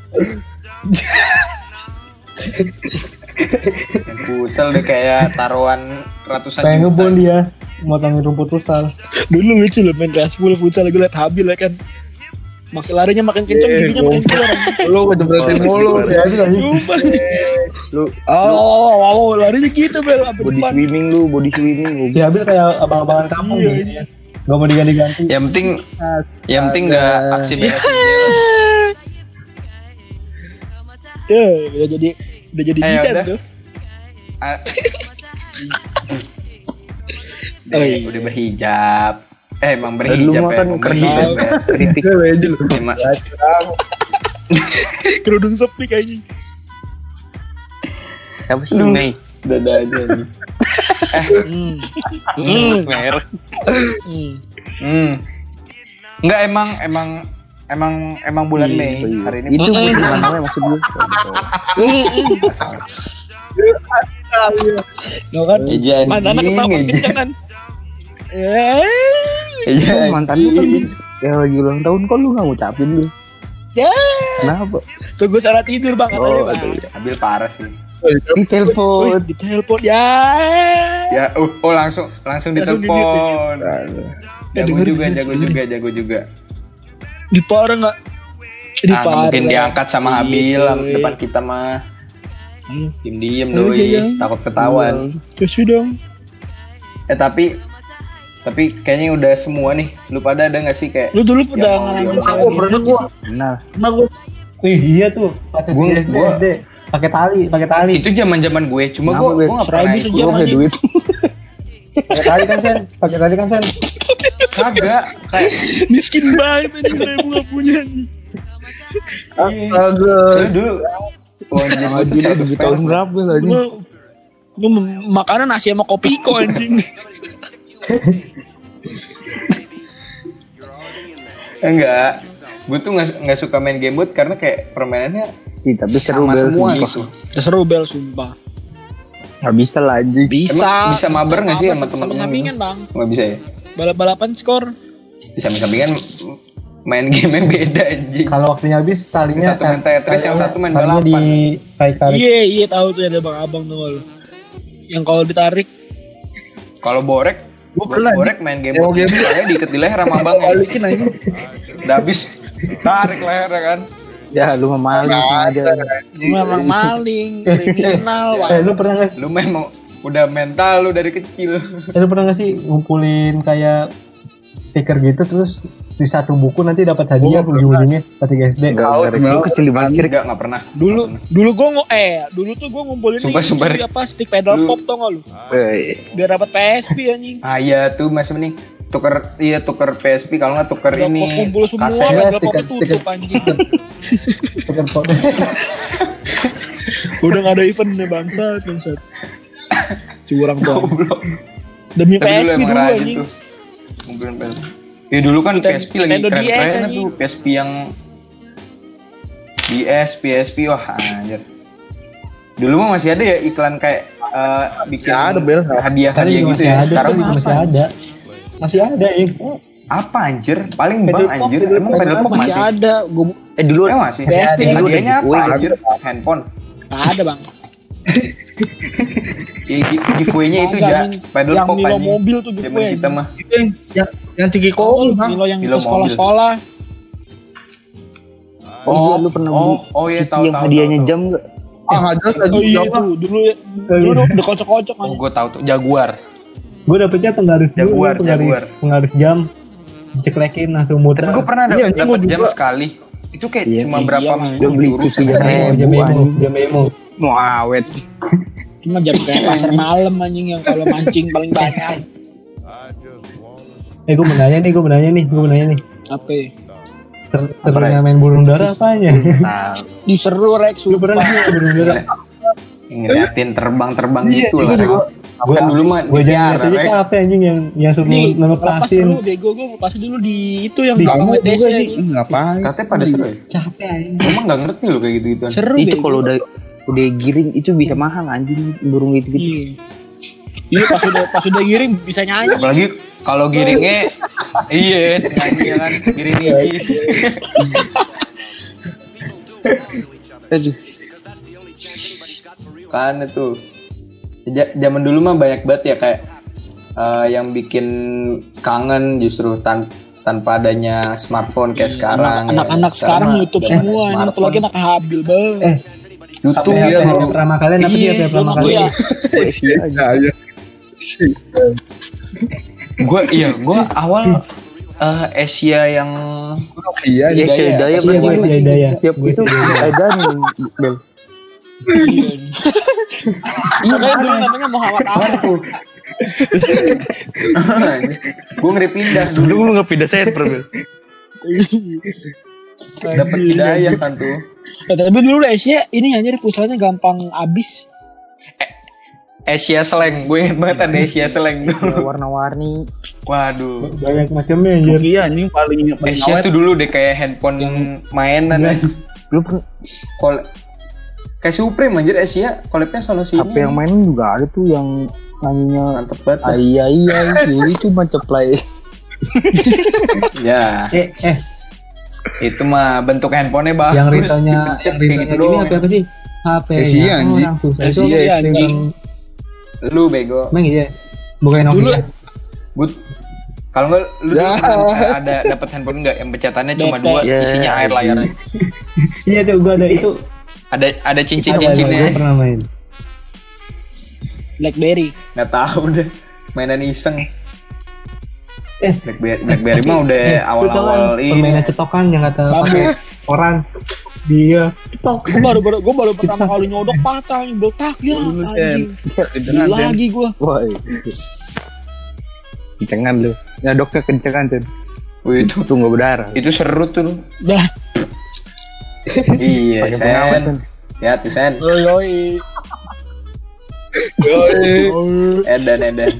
Speaker 1: futsal deh kayak taruhan ratusan
Speaker 2: Pengen
Speaker 1: juta.
Speaker 2: ngebon dia, motongin rumput rusal.
Speaker 4: Dulu lucu lu main kelas 10 futsal gue liat Habil ya kan. Makin larinya makin kenceng,
Speaker 1: Eh,
Speaker 4: giginya makin keluar.
Speaker 6: Lu kejepresin
Speaker 7: Oh,
Speaker 6: mulu.
Speaker 2: Ya, itu tadi.
Speaker 4: Sumpah.
Speaker 1: Eh,
Speaker 7: Lu-
Speaker 4: Oh, oh, oh, oh, larinya gitu bel. Sampai
Speaker 7: Body
Speaker 6: ya.
Speaker 4: depan.
Speaker 7: swimming lu, body swimming
Speaker 1: Iya.
Speaker 7: lu.
Speaker 2: Si Abil kayak abang-abangan kampung
Speaker 4: Iya,
Speaker 2: gitu ya. Gak mau diganti-ganti.
Speaker 1: Yang penting yang penting nggak aksi beresin dia.
Speaker 4: Ya, udah jadi udah jadi
Speaker 1: Eh,
Speaker 4: bidan
Speaker 1: udah.
Speaker 4: tuh.
Speaker 1: Ah.
Speaker 4: Oh,
Speaker 1: Eh,
Speaker 4: iya.
Speaker 1: udah berhijab. Eh,
Speaker 7: Lu
Speaker 1: emang berhijab
Speaker 7: mah
Speaker 1: ya,
Speaker 7: kan
Speaker 1: emang
Speaker 7: kerja
Speaker 1: berhijab ya.
Speaker 7: kritik. iya.
Speaker 1: Emang-
Speaker 4: Kerudung sepi kayaknya.
Speaker 7: Siapa sih Eh, ini?
Speaker 1: Dada aja. nih.
Speaker 4: Hmm.
Speaker 1: Hmm, merah.
Speaker 4: Hmm.
Speaker 1: Hmm. Enggak emang emang emang emang bulan Mei hari
Speaker 7: Iya,
Speaker 1: ini.
Speaker 7: Itu gue bilang gue maksud gue.
Speaker 4: Nah, kan?
Speaker 1: Eja
Speaker 4: Mantannya ketawa kenceng kan. Eh.
Speaker 1: Eja
Speaker 7: Lu mantan lu kan ya lagi ulang tahun kok lu gak ngucapin lu.
Speaker 4: Ya.
Speaker 7: Kenapa?
Speaker 4: Tunggu salah tidur bang katanya bang.
Speaker 1: Ambil parah sih.
Speaker 7: Di
Speaker 1: Oh,
Speaker 7: telepon.
Speaker 4: Wih, ditelepon ya.
Speaker 1: Ya, uh, oh langsung langsung
Speaker 4: Langsung ya?
Speaker 1: ditelepon. Jago
Speaker 4: dengerin,
Speaker 1: juga,
Speaker 4: dengerin,
Speaker 1: jago
Speaker 4: dengerin.
Speaker 1: juga, jago juga.
Speaker 4: Di parah nggak? Di
Speaker 1: Ah,
Speaker 4: parah.
Speaker 1: mungkin diangkat sama Habil
Speaker 4: Iya, cuy.
Speaker 1: depan kita mah.
Speaker 4: Hmm.
Speaker 1: Diem-diem
Speaker 4: Aduh, iya.
Speaker 1: doi, takut ketahuan.
Speaker 4: Ya sudah. Iya.
Speaker 1: Eh tapi tapi kayaknya udah semua nih. Lu pada ada nggak sih kayak
Speaker 4: Lu dulu
Speaker 1: Ya,
Speaker 4: udah
Speaker 1: mau
Speaker 4: ngalamin
Speaker 1: gimana?
Speaker 4: sama
Speaker 6: Aku
Speaker 4: dia.
Speaker 6: pernah gua.
Speaker 7: Nah,
Speaker 6: Pernah gua.
Speaker 2: Wih, iya tuh. Pas
Speaker 1: Gua-
Speaker 2: SD,
Speaker 1: gua-
Speaker 2: SD. Pakai tali, pakai tali.
Speaker 1: itu zaman-zaman gue, cuma gue gue nggak pernah
Speaker 4: Serabi
Speaker 1: ikut.
Speaker 7: gue
Speaker 4: sejam
Speaker 7: punya
Speaker 4: aja.
Speaker 7: duit.
Speaker 2: Pakai tali kan, Sen. Pakai tali kan, Sen.
Speaker 1: Kagak. Kayak
Speaker 4: Miskin banget ini seribu nggak punya. Ah,
Speaker 6: Astaga.
Speaker 1: Soalnya Iya. dulu Oh, anjing, gua tuh seratus
Speaker 7: Di tahun
Speaker 1: perak.
Speaker 7: berapa lagi?
Speaker 4: Gua gua mem- makanan nasi sama kopi kok anjing.
Speaker 1: Enggak. Gue Eh, tuh nggak nggak suka main game board karena kayak permainannya
Speaker 7: Ih, tapi seru
Speaker 1: sama
Speaker 7: banget.
Speaker 1: semua
Speaker 7: sumpah.
Speaker 1: gitu.
Speaker 4: Seru bel sumpah.
Speaker 7: Gak bisa lah anjing.
Speaker 1: Emang
Speaker 4: Bisa.
Speaker 1: bisa mabar nggak sih sama temen-temen?
Speaker 4: Sampingan bang.
Speaker 1: Nggak bisa ya.
Speaker 4: Balap-balapan skor.
Speaker 1: Di samping-sampingan main game yang beda anjing.
Speaker 2: Kalau waktunya habis, talinya...
Speaker 1: Yang satu
Speaker 6: kan?
Speaker 1: main Tetris, yang satu main
Speaker 2: talinya
Speaker 1: balapan.
Speaker 2: ditarik-tarik.
Speaker 4: Iya iya tahu tuh ada bang abang tuh kalau. Yang kalau ditarik
Speaker 1: Kalau borek
Speaker 6: Gua pernah,
Speaker 1: borek main game
Speaker 6: Mau
Speaker 1: board.
Speaker 6: game board.
Speaker 1: Soalnya diikat di leher sama abangnya.
Speaker 6: Balikin aja.
Speaker 1: Udah habis tarik leher ya kan.
Speaker 7: Ya lu mah maling sengaja.
Speaker 4: Lu memang maling, kriminal,
Speaker 1: Iya.
Speaker 4: wah.
Speaker 2: Eh, lu pernah nggak sih?
Speaker 1: Lu memang udah mental lu dari kecil.
Speaker 2: Eh, lu pernah nggak sih ngumpulin kayak stiker gitu terus di satu buku nanti dapat hadiah ujung-ujungnya ketika SD.
Speaker 7: Enggak, enggak. Lu kecil di mana?
Speaker 1: Akhir gak nggak pernah.
Speaker 4: Dulu dulu gua ngo eh dulu tuh gua ngumpulin
Speaker 1: Sumpah,
Speaker 4: ini,
Speaker 1: sumpah,
Speaker 4: cuy,
Speaker 1: Rick.
Speaker 4: apa stick pedal
Speaker 1: Lu-
Speaker 4: pop tau gak lu?
Speaker 7: Eh,
Speaker 4: Biar dapat PSP anjing.
Speaker 1: Ah iya tuh Mas mending tuker iya tuker PSP kalau nggak tuker
Speaker 4: Udah gua
Speaker 1: ini
Speaker 4: kumpul semua,
Speaker 1: kaset.
Speaker 4: pedal pop
Speaker 2: stiker,
Speaker 4: tutup anjing.
Speaker 2: Stiker foto.
Speaker 4: Udah gak ada event nih bangsat, bangsat. Curang tuh.
Speaker 1: Goblok.
Speaker 4: Demi
Speaker 1: Tapi dulu
Speaker 4: PSP
Speaker 1: emang
Speaker 4: dulu
Speaker 1: rajin
Speaker 4: anjing.
Speaker 1: tuh. Kumpulin PSP. Ya dulu kan
Speaker 4: Nintendo-
Speaker 1: PSP lagi
Speaker 4: Nintendo DS,
Speaker 1: keren-keren
Speaker 4: anjing.
Speaker 1: tuh PSP yang DS, PSP wah anjir. Dulu mah masih ada ya iklan kayak eh, bikin
Speaker 6: Ya, ada, Bel.
Speaker 2: Tadi
Speaker 1: hadiah-hadiah
Speaker 2: juga
Speaker 1: gitu
Speaker 2: masih
Speaker 1: ya.
Speaker 2: ada,
Speaker 1: Sekarang
Speaker 2: sekarang juga masih ada. Masih ada, iya. ih.
Speaker 1: apa anjir? Paling
Speaker 2: Pedal
Speaker 1: bang
Speaker 2: pop,
Speaker 1: anjir.
Speaker 2: pedal
Speaker 1: Emang
Speaker 2: pop
Speaker 1: pedal pop
Speaker 4: Masih
Speaker 1: masih?
Speaker 4: ada, gua
Speaker 7: eh dulu
Speaker 1: Emang masih?
Speaker 4: PSP.
Speaker 1: Hadiahnya apa
Speaker 7: Wah,
Speaker 1: anjir? Handphone.
Speaker 4: gak ada, Bang.
Speaker 1: Ya, gi- giveaway-nya itu
Speaker 4: Kagak,
Speaker 1: ja.
Speaker 4: anjing.
Speaker 1: Pedal
Speaker 4: Yang
Speaker 1: pop
Speaker 4: Milo
Speaker 1: anjing.
Speaker 4: mobil tuh gitu
Speaker 1: Zaman kita mah.
Speaker 6: Itu yang yang- yang tinggi
Speaker 4: Oh,
Speaker 6: kol, Bang.
Speaker 4: Milo yang
Speaker 1: Milo
Speaker 4: ke sekolah-sekolah.
Speaker 7: Oh, lu pernah
Speaker 1: oh,
Speaker 7: beli
Speaker 1: oh iya
Speaker 7: itu
Speaker 1: tahu
Speaker 7: yang
Speaker 1: tahu.
Speaker 7: hadiahnya
Speaker 1: tahu, tahu.
Speaker 7: jam enggak? Eh,
Speaker 6: Ah, ada
Speaker 4: Oh
Speaker 6: lagi
Speaker 4: iya
Speaker 6: apa?
Speaker 4: tuh, dulu dulu udah kocok-kocok
Speaker 1: Oh,
Speaker 4: anjing.
Speaker 1: gue tahu tuh Jaguar.
Speaker 2: Gue dapetnya penggaris dulu,
Speaker 1: Jaguar,
Speaker 2: penggaris,
Speaker 1: Jaguar. Kan
Speaker 2: penggaris jam. Diceklekin langsung muter.
Speaker 1: Tapi gue pernah
Speaker 6: Iya,
Speaker 1: dapet,
Speaker 6: anjing,
Speaker 1: dapet
Speaker 6: gua juga.
Speaker 1: jam sekali. Itu kayak
Speaker 7: Iya,
Speaker 1: cuma
Speaker 7: iya,
Speaker 1: berapa
Speaker 4: Mang.
Speaker 1: minggu gitu.
Speaker 7: Gua beli
Speaker 1: diurus,
Speaker 7: cuci
Speaker 1: habis
Speaker 7: jam.
Speaker 1: itu.
Speaker 2: Eh, jam emo, jam emo.
Speaker 7: Wah, awet.
Speaker 4: Cuma jam kayak pasar malam anjing yang kalau mancing paling banyak.
Speaker 2: Eh, gue menanya nih, gue menanya nih, gue menanya nih.
Speaker 4: Apa? ya?
Speaker 2: Ter ternyata main burung dara apanya?
Speaker 1: Nah,
Speaker 4: Ih seru Rex,
Speaker 2: Lu pernah
Speaker 4: sumpah.
Speaker 2: nggak main burung dara?
Speaker 1: ngeliatin terbang-terbang gitu lah.
Speaker 2: Iya,
Speaker 1: Rek. Kan dulu mah
Speaker 2: Gue jangan
Speaker 1: dipiara,
Speaker 2: lihat aja
Speaker 1: Rek.
Speaker 2: kan apa anjing yang yang suruh
Speaker 4: Nih, lepas
Speaker 2: ngelepasin.
Speaker 4: seru bego gue lepas dulu di itu yang
Speaker 2: Di
Speaker 4: di
Speaker 2: kamu
Speaker 4: kamu
Speaker 6: Juga nih.
Speaker 4: DC.
Speaker 6: Ngapain?
Speaker 1: Katanya pada seru ya?
Speaker 2: Capek anjing.
Speaker 1: Emang gak ngerti loh kayak gitu-gituan.
Speaker 4: Seru
Speaker 7: Itu
Speaker 4: bego.
Speaker 7: kalau udah udah giring itu bisa mahal anjing burung itu gitu.
Speaker 4: Iya. Iya pas udah pas udah giring bisa nyanyi.
Speaker 1: Apalagi kalau giringnya, iya, nyanyi ya kan, giring niji.
Speaker 7: Aduh.
Speaker 1: kan itu Ja- zaman dulu mah banyak banget ya kayak eh, yang bikin kangen justru tan- tanpa adanya smartphone kayak sekarang. ya.
Speaker 4: Anak-anak sekarang
Speaker 1: mah
Speaker 4: YouTube
Speaker 1: udah
Speaker 4: semua
Speaker 1: ada
Speaker 4: nih,
Speaker 1: smartphone.
Speaker 4: apalagi anak habil banget.
Speaker 2: Eh,
Speaker 1: YouTube
Speaker 2: HP
Speaker 1: ya,
Speaker 2: yang pertama kalian apa dia
Speaker 4: Iya,
Speaker 2: apa yang pertama
Speaker 4: iya,
Speaker 2: kali?
Speaker 4: iya.
Speaker 6: aja. Si-
Speaker 1: Gue iya, gue awal eh, Asia yang
Speaker 6: Iya,
Speaker 1: Iya,
Speaker 7: Iya,
Speaker 1: Hidayah.
Speaker 7: Hidayah
Speaker 2: Iya,
Speaker 7: berarti.
Speaker 2: gue Hidayah.
Speaker 7: Setiap
Speaker 2: Gue
Speaker 7: itu Edan Bel.
Speaker 4: Iya, Makanya dulu namanya Muhammad Ahmad.
Speaker 1: gue ngeri pindah dulu
Speaker 3: Dulu lu nggak pindah server Bel.
Speaker 1: dapet hidayah kan tuh.
Speaker 4: Nah, tapi dulu Asia ini anjir pusatnya gampang habis.
Speaker 1: Asia Seleng, gue inget banget ada Asia Seleng dulu.
Speaker 7: Warna-warni.
Speaker 1: Waduh.
Speaker 2: Banyak macamnya anjir.
Speaker 3: Iya anjing paling ini paling
Speaker 1: Asia
Speaker 3: awet.
Speaker 1: tuh dulu deh kayak handphone yang mainan dan
Speaker 7: Lu pernah-
Speaker 1: kol kayak Supreme anjir Asia kolabnya sono sini.
Speaker 7: HP yang main juga ada tuh yang nyanyinya
Speaker 1: mantep banget.
Speaker 7: Iya iya itu cuma ceplay.
Speaker 1: Ya,
Speaker 2: Eh, eh,
Speaker 1: itu mah bentuk handphonenya bagus.
Speaker 2: yang ritanya
Speaker 1: Dicek
Speaker 2: yang
Speaker 1: kayak
Speaker 2: ritanya
Speaker 1: gitu
Speaker 2: gini
Speaker 1: doang.
Speaker 2: apa apa sih?
Speaker 1: Eh,
Speaker 2: HP
Speaker 6: Asia,
Speaker 2: ya,
Speaker 6: anjing.
Speaker 2: orang susah itu
Speaker 4: Asia,
Speaker 2: orang-
Speaker 4: Eh, anjing.
Speaker 1: Lu bego.
Speaker 2: Emang iya. Bukan
Speaker 4: Dulu
Speaker 2: Nokia.
Speaker 1: But kalau nggak lu
Speaker 6: Ya.
Speaker 1: dulu ada dapat handphone enggak yang pecatannya cuma
Speaker 4: Bete.
Speaker 1: dua
Speaker 7: Ya,
Speaker 1: isinya air layarnya.
Speaker 2: Iya tuh gua ada itu.
Speaker 1: Ada ada
Speaker 2: Gua
Speaker 1: cincin-cincinnya.
Speaker 2: pernah main.
Speaker 4: BlackBerry.
Speaker 1: Nggak tahu deh. Mainan iseng.
Speaker 2: Eh,
Speaker 1: Blackberry, Blackberry mah udah
Speaker 2: Eh, lu tau kan
Speaker 1: awal-awal iya. ini.
Speaker 2: permainan cetokan yang kata
Speaker 4: Bambu.
Speaker 2: pakai koran. Dia
Speaker 4: Gue baru baru gue baru pertama kali nyodok patah nih botak ya. Anjing. Gila
Speaker 3: Kedengeran, Den.
Speaker 4: lagi gue.
Speaker 7: Wah. iya. Kencengan lu. Nyadoknya kencengan Cun.
Speaker 1: Wih, itu
Speaker 7: Itu nggak berdarah.
Speaker 1: itu seru tuh.
Speaker 4: Dah.
Speaker 1: iya,
Speaker 7: Pakai pengawet, Cun.
Speaker 1: Sen. Ya, tuh Sen.
Speaker 4: Yoi.
Speaker 6: Yoi.
Speaker 1: Edan, Edan.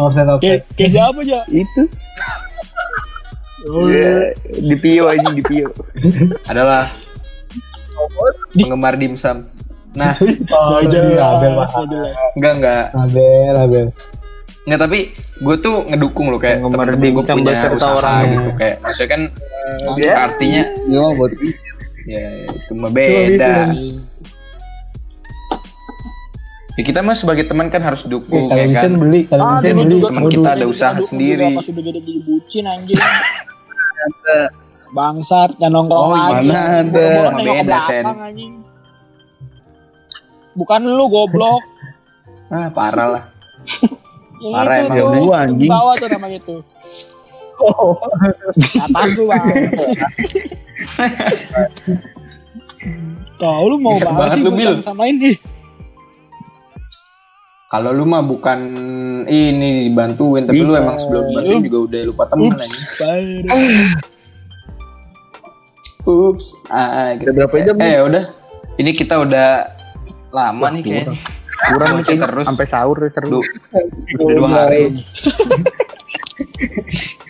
Speaker 2: offset offset.
Speaker 4: Kayak kayak siapa aja?
Speaker 7: Itu. Iya, di Pio aja di Pio.
Speaker 1: Adalah penggemar dimsum. Nah,
Speaker 2: Oh,
Speaker 4: Nggak
Speaker 2: itu dia,
Speaker 4: jelas,
Speaker 2: Abel Pak.
Speaker 4: nggak jelas.
Speaker 1: enggak enggak.
Speaker 2: Abel, Abel.
Speaker 1: Nggak tapi gue tuh ngedukung loh kayak
Speaker 7: Penggemar
Speaker 1: temen-temen gue
Speaker 7: dimsum
Speaker 1: punya
Speaker 7: beserta
Speaker 1: usaha
Speaker 7: orang.
Speaker 1: gitu kayak maksudnya kan
Speaker 6: Ya.
Speaker 1: artinya
Speaker 6: Iya, mah buat
Speaker 1: ya itu mah beda.
Speaker 4: kan.
Speaker 1: Ya, kita mah sebagai teman kan harus dukung ya
Speaker 2: Kalian
Speaker 1: kan.
Speaker 2: kan beli, kalian
Speaker 4: Ah,
Speaker 2: kan
Speaker 4: dulu
Speaker 2: beli.
Speaker 4: juga
Speaker 1: Teman
Speaker 4: dulu
Speaker 1: kita
Speaker 4: juga
Speaker 1: ada usaha
Speaker 4: dulu juga
Speaker 1: sendiri.
Speaker 4: Pas udah gede jadi bucin anjing. Bangsat, jangan nongkrong
Speaker 1: Oh,
Speaker 4: lagi.
Speaker 6: mana ada.
Speaker 4: Bola tengok ke
Speaker 1: Beda,
Speaker 4: belakang,
Speaker 1: Sen.
Speaker 4: anjing. Bukan lu goblok.
Speaker 1: Ah, parah lah.
Speaker 4: Yang
Speaker 1: Parah
Speaker 4: itu
Speaker 1: emang
Speaker 4: tuh,
Speaker 6: lu, anjing.
Speaker 4: di Bawah tuh nama itu. Atas lu bang. Tahu lu mau
Speaker 1: Iya banget
Speaker 4: banget sih
Speaker 1: lu, Bil.
Speaker 4: sama ini.
Speaker 1: Kalau lu mah bukan ini dibantuin, tapi lu emang sebelum dibantuin juga udah lupa teman aja. Ups, ah, gitu.
Speaker 6: Udah berapa jam nih?
Speaker 1: Eh, udah. Ini kita udah lama nih kayaknya.
Speaker 7: Kurang
Speaker 1: Bocil
Speaker 7: mungkin
Speaker 1: terus.
Speaker 7: sampai sahur seru.
Speaker 1: Lu udah dua hari.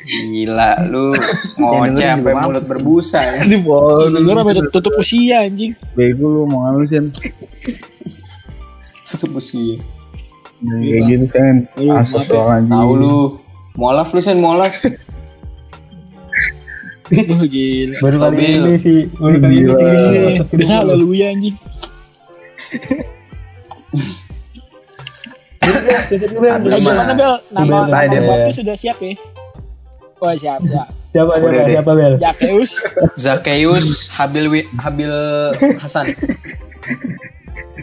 Speaker 1: Gila, lu ngoceh
Speaker 7: dengerin
Speaker 1: sampai
Speaker 7: juga
Speaker 1: mulut berbusa ya.
Speaker 6: di bol.
Speaker 4: Lu sampai tut- tutup usia anjing.
Speaker 6: Bego lu mau ngalusin.
Speaker 1: Tutup busi.
Speaker 6: Kayak gitu kan. Asap soal anjing.
Speaker 1: Tahu lu. Molaf lu sen molaf.
Speaker 2: Baru kali
Speaker 1: Stabil.
Speaker 2: ini sih, baru kali ini.
Speaker 6: Gila.
Speaker 2: sih.
Speaker 4: Bisa lu ya anjing.
Speaker 2: Tutup dulu,
Speaker 1: Aduh,
Speaker 2: Bel.
Speaker 4: Eh
Speaker 1: Belum,
Speaker 4: gimana
Speaker 1: ah.
Speaker 4: Bel? Nama
Speaker 2: Belum,
Speaker 4: nama
Speaker 1: ada.
Speaker 4: batu sudah siap ya? Wah siap siap.
Speaker 2: Siapa,
Speaker 1: Udah
Speaker 2: siapa,
Speaker 1: deh.
Speaker 2: siapa, Bel?
Speaker 4: Jakeus.
Speaker 1: Zakeus Habil Wi- Habil Hasan.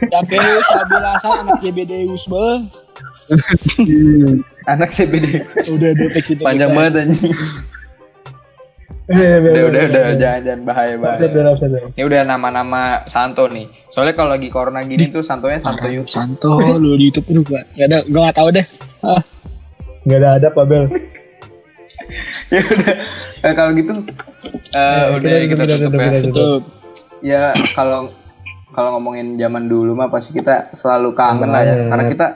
Speaker 4: Jakeus Abil Hasan anak JBDeus bel.
Speaker 1: Anak CBD.
Speaker 4: Udah deteksi
Speaker 1: Panjang banget anjing.
Speaker 2: Eh,
Speaker 1: Udah
Speaker 2: Bel, Bel,
Speaker 1: udah
Speaker 2: Bel,
Speaker 1: udah
Speaker 2: Bel.
Speaker 1: jangan jangan bahaya
Speaker 2: Offset, Bel,
Speaker 1: bahaya.
Speaker 2: offset, Bel.
Speaker 1: Ini udah nama-nama Santo nih. Soalnya kalau lagi corona gini tuh santonya Santo Yusuf.
Speaker 4: Santo Oh, lu di YouTube lu gua. Gak ada, gua gak tau deh. Ah,
Speaker 2: Nggak ada adab, Abel.
Speaker 1: ya udah Eh, kalau gitu eh, udah
Speaker 2: kita
Speaker 1: kita
Speaker 2: tutup,
Speaker 1: tutup
Speaker 2: tutup,
Speaker 1: ya
Speaker 2: tutup, tutup.
Speaker 4: Tuh.
Speaker 1: ya kalau kalau ngomongin zaman dulu mah pasti kita selalu kangen lah ya
Speaker 2: Kangen.
Speaker 1: karena kita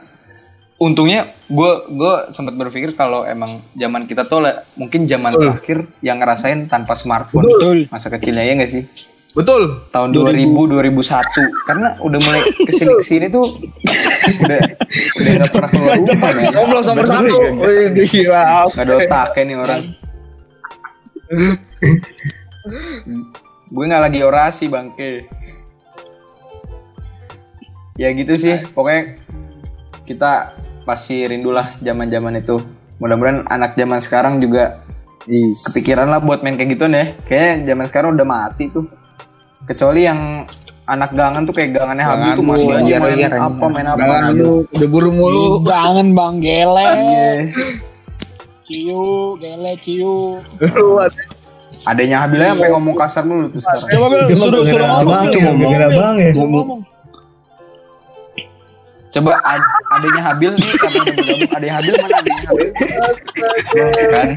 Speaker 1: untungnya gue gue sempat berpikir kalau emang zaman kita tuh lah, mungkin zaman terakhir yang ngerasain tanpa smartphone masa kecilnya ya nggak sih
Speaker 3: Betul.
Speaker 1: tahun 2000 2001 karena udah mulai kesini kesini tuh udah udah nggak pernah keluar rumah men.
Speaker 6: Omlos nomor satu. Wih, Oh, iya, gila.
Speaker 1: Gak ada otaknya nih orang. gue nggak lagi orasi bangke. Ya gitu sih, pokoknya kita pasti rindulah zaman-zaman itu. Mudah-mudahan anak zaman sekarang juga kepikiran lah buat main kayak gitu ya. Kayaknya zaman sekarang udah mati tuh. Kecuali yang anak gangan tuh kayak gangannya Habib
Speaker 6: Gangan
Speaker 1: tuh masih
Speaker 6: lu,
Speaker 1: aja
Speaker 6: liar,
Speaker 1: main
Speaker 7: liar,
Speaker 1: apa
Speaker 7: anjing.
Speaker 1: main apa.
Speaker 6: Jangan lu udah buru mulu.
Speaker 4: Jangan bang gele,
Speaker 1: Iya.
Speaker 4: ciu, gele, ciu.
Speaker 1: Adanya Habil aja sampai ngomong kasar mulu tuh sekarang.
Speaker 4: Coba Bil, suruh suruh
Speaker 2: gara-gara
Speaker 4: ngomong.
Speaker 2: Bang,
Speaker 4: Bil.
Speaker 2: itu ngomong.
Speaker 4: Suruh
Speaker 2: Gara-gara Bang ya.
Speaker 4: Suruh ngomong.
Speaker 1: Coba ad- adanya Habil nih karena udah bergabung. Adanya Habil mana adanya Habil? kan?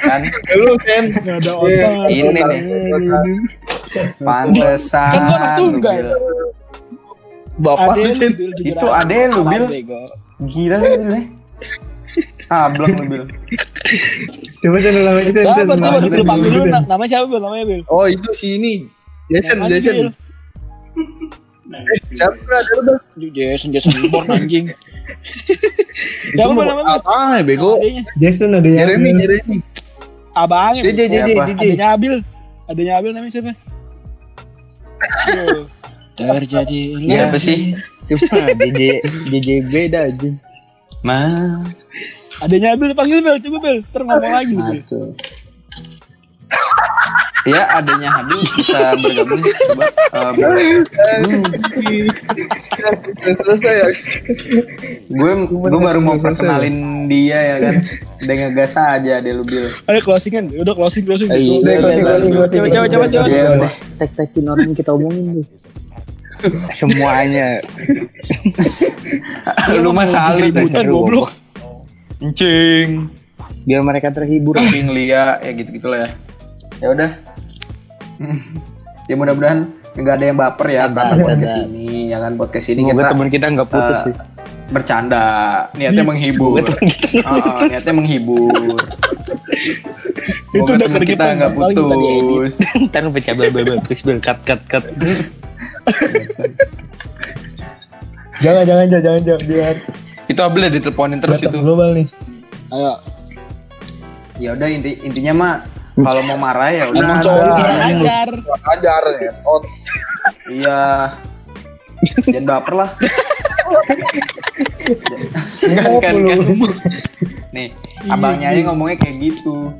Speaker 1: Kan?
Speaker 6: Lu kan.
Speaker 4: Gak ada otak.
Speaker 1: Ini nih. Pantesan.
Speaker 4: Kan gua anak
Speaker 1: lu
Speaker 4: tunggal.
Speaker 1: Bil.
Speaker 6: Bapak
Speaker 4: Ade,
Speaker 6: lu Sen.
Speaker 4: Bil, jujur
Speaker 1: Itu
Speaker 4: aja.
Speaker 1: ade lu Bil.
Speaker 5: Bego.
Speaker 1: Gila lu Bil. eh. Tablak lu Bil.
Speaker 2: Coba jangan lama itu.
Speaker 4: Sabar, coba
Speaker 1: Bil,
Speaker 4: dulu panggil
Speaker 1: Bil,
Speaker 4: dulu.
Speaker 1: Bil.
Speaker 4: na- Namanya siapa Bil? Namanya Bil.
Speaker 6: Oh itu si ini. Jason,
Speaker 4: Apaan,
Speaker 6: Jason.
Speaker 4: Bil?
Speaker 6: Eh, siapa ada lu Bang?
Speaker 4: Aduh, Jason, Jason Bourne anjing. Siapa Bil namanya? Bil?
Speaker 6: Apa bego?
Speaker 4: Adanya.
Speaker 2: Jason ada yang.
Speaker 6: Jeremy, Jeremy.
Speaker 4: Abangnya.
Speaker 6: JJ,
Speaker 4: Bil.
Speaker 6: JJ,
Speaker 1: Siapa?
Speaker 6: JJ.
Speaker 4: Adanya Abil. Adanya Abil namanya siapa? Aduh. Terjadi
Speaker 1: Siapa sih?
Speaker 7: Iya. Cuma DJ DJ beda aja.
Speaker 1: Ma.
Speaker 4: Adanya Abil panggil Bil, coba Bil. Terus ngomong lagi Bil.
Speaker 1: Aduh. Ya adanya Habil bisa bergabung coba eh, Bil.
Speaker 6: Sudah Selesai ya.
Speaker 1: gue gue baru mau perkenalin dia ya kan udah ngegas aja deh lu bil
Speaker 4: Ayo closing kan, udah closing closing.
Speaker 1: Iya,
Speaker 4: Udah,
Speaker 1: iya,
Speaker 4: closing,
Speaker 1: iya,
Speaker 4: closing.
Speaker 1: iya,
Speaker 4: Coba coba coba coba.
Speaker 1: ya udah
Speaker 7: Tek-tekin orang yang kita omongin tuh.
Speaker 1: semuanya lu mah salut deh
Speaker 4: Ributan goblok.
Speaker 1: encing
Speaker 7: Biar mereka terhibur.
Speaker 1: Ping Lia ya gitu gitulah ya ya udah ya mudah-mudahan nggak ada yang baper ya karena podcast ini ya kan podcast ini
Speaker 7: Semoga
Speaker 1: kita
Speaker 7: teman kita nggak putus
Speaker 1: eh,
Speaker 7: sih.
Speaker 1: bercanda niatnya menghibur Ah, ah, niatnya menghibur
Speaker 4: Itu
Speaker 1: Semoga
Speaker 4: udah
Speaker 1: teman kita
Speaker 4: keringetan,
Speaker 1: nggak
Speaker 4: apalagi tadi
Speaker 1: putus
Speaker 7: Ntar pecah bel bel bel please bel cut cut cut.
Speaker 2: Jangan jangan jangan jangan jangan. Biar
Speaker 1: itu abel ya diteleponin terus
Speaker 2: datang
Speaker 1: itu
Speaker 2: global nih.
Speaker 4: Ayo.
Speaker 1: ya udah inti intinya mah kalau mau marah ya udah
Speaker 4: Emang
Speaker 1: ada.
Speaker 4: cowok lu kurang ajar.
Speaker 6: Ajar ya. Oh,
Speaker 1: iya jangan baper lah kan kan kan nih abangnya aja ngomongnya kayak gitu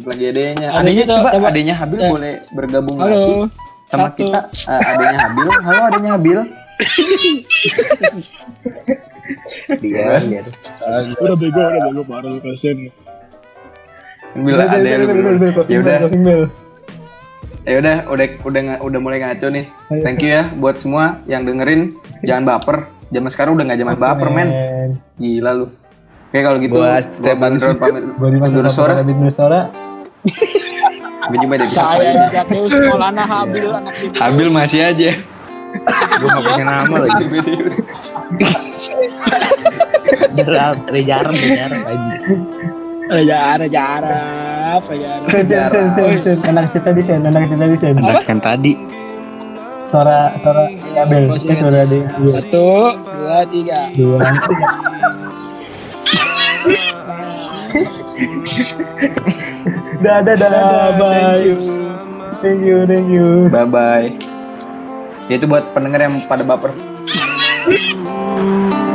Speaker 1: bukan lagi adenya
Speaker 4: Adenya
Speaker 1: adenya
Speaker 4: tuh,
Speaker 1: kan. coba
Speaker 4: coba.
Speaker 1: adenya Habil
Speaker 4: Sa-
Speaker 1: boleh bergabung
Speaker 4: Halo.
Speaker 1: lagi sama
Speaker 4: Satu.
Speaker 1: kita Eh, adenya Habil halo adenya Habil dia
Speaker 4: Udah bego, udah bego parah lu kasihan.
Speaker 1: Habil ada
Speaker 2: Bel, bel, bel, bel,
Speaker 1: ya
Speaker 2: closing bel,
Speaker 1: udah
Speaker 2: closing bel.
Speaker 1: ya udah udah udah nga- udah mulai ngaco nih thank you ya buat semua yang dengerin jangan baper zaman sekarang udah nggak zaman baper
Speaker 4: Iya.
Speaker 1: men gila lu oke kalau gitu gua
Speaker 6: Gua Stefan
Speaker 1: Bandro pamit
Speaker 2: Gue di mana?
Speaker 1: undur suara
Speaker 2: Abid Nusora.
Speaker 1: sampai jumpa di episode
Speaker 4: Saya
Speaker 1: selanjutnya
Speaker 4: Jakeus Maulana Habil anak ibu.
Speaker 1: Habil masih aja
Speaker 7: Gue nggak punya nama lagi. Jarang, jarang, jarang.
Speaker 4: Raja Arab, Raja Arab, Raja Arab.
Speaker 2: Sen, sen, sen, sen, sen. Anak kita di sen, anak kita di sen.
Speaker 4: Apa?
Speaker 7: Yang tadi.
Speaker 2: Suara suara kabel. Kita suara ada yang iya.
Speaker 4: Satu, dua, tiga.
Speaker 2: Dua. Dadah, dadah, bye. Thank you, thank you.
Speaker 1: bye bye itu buat pendengar yang pada baper
Speaker 8: Ooh,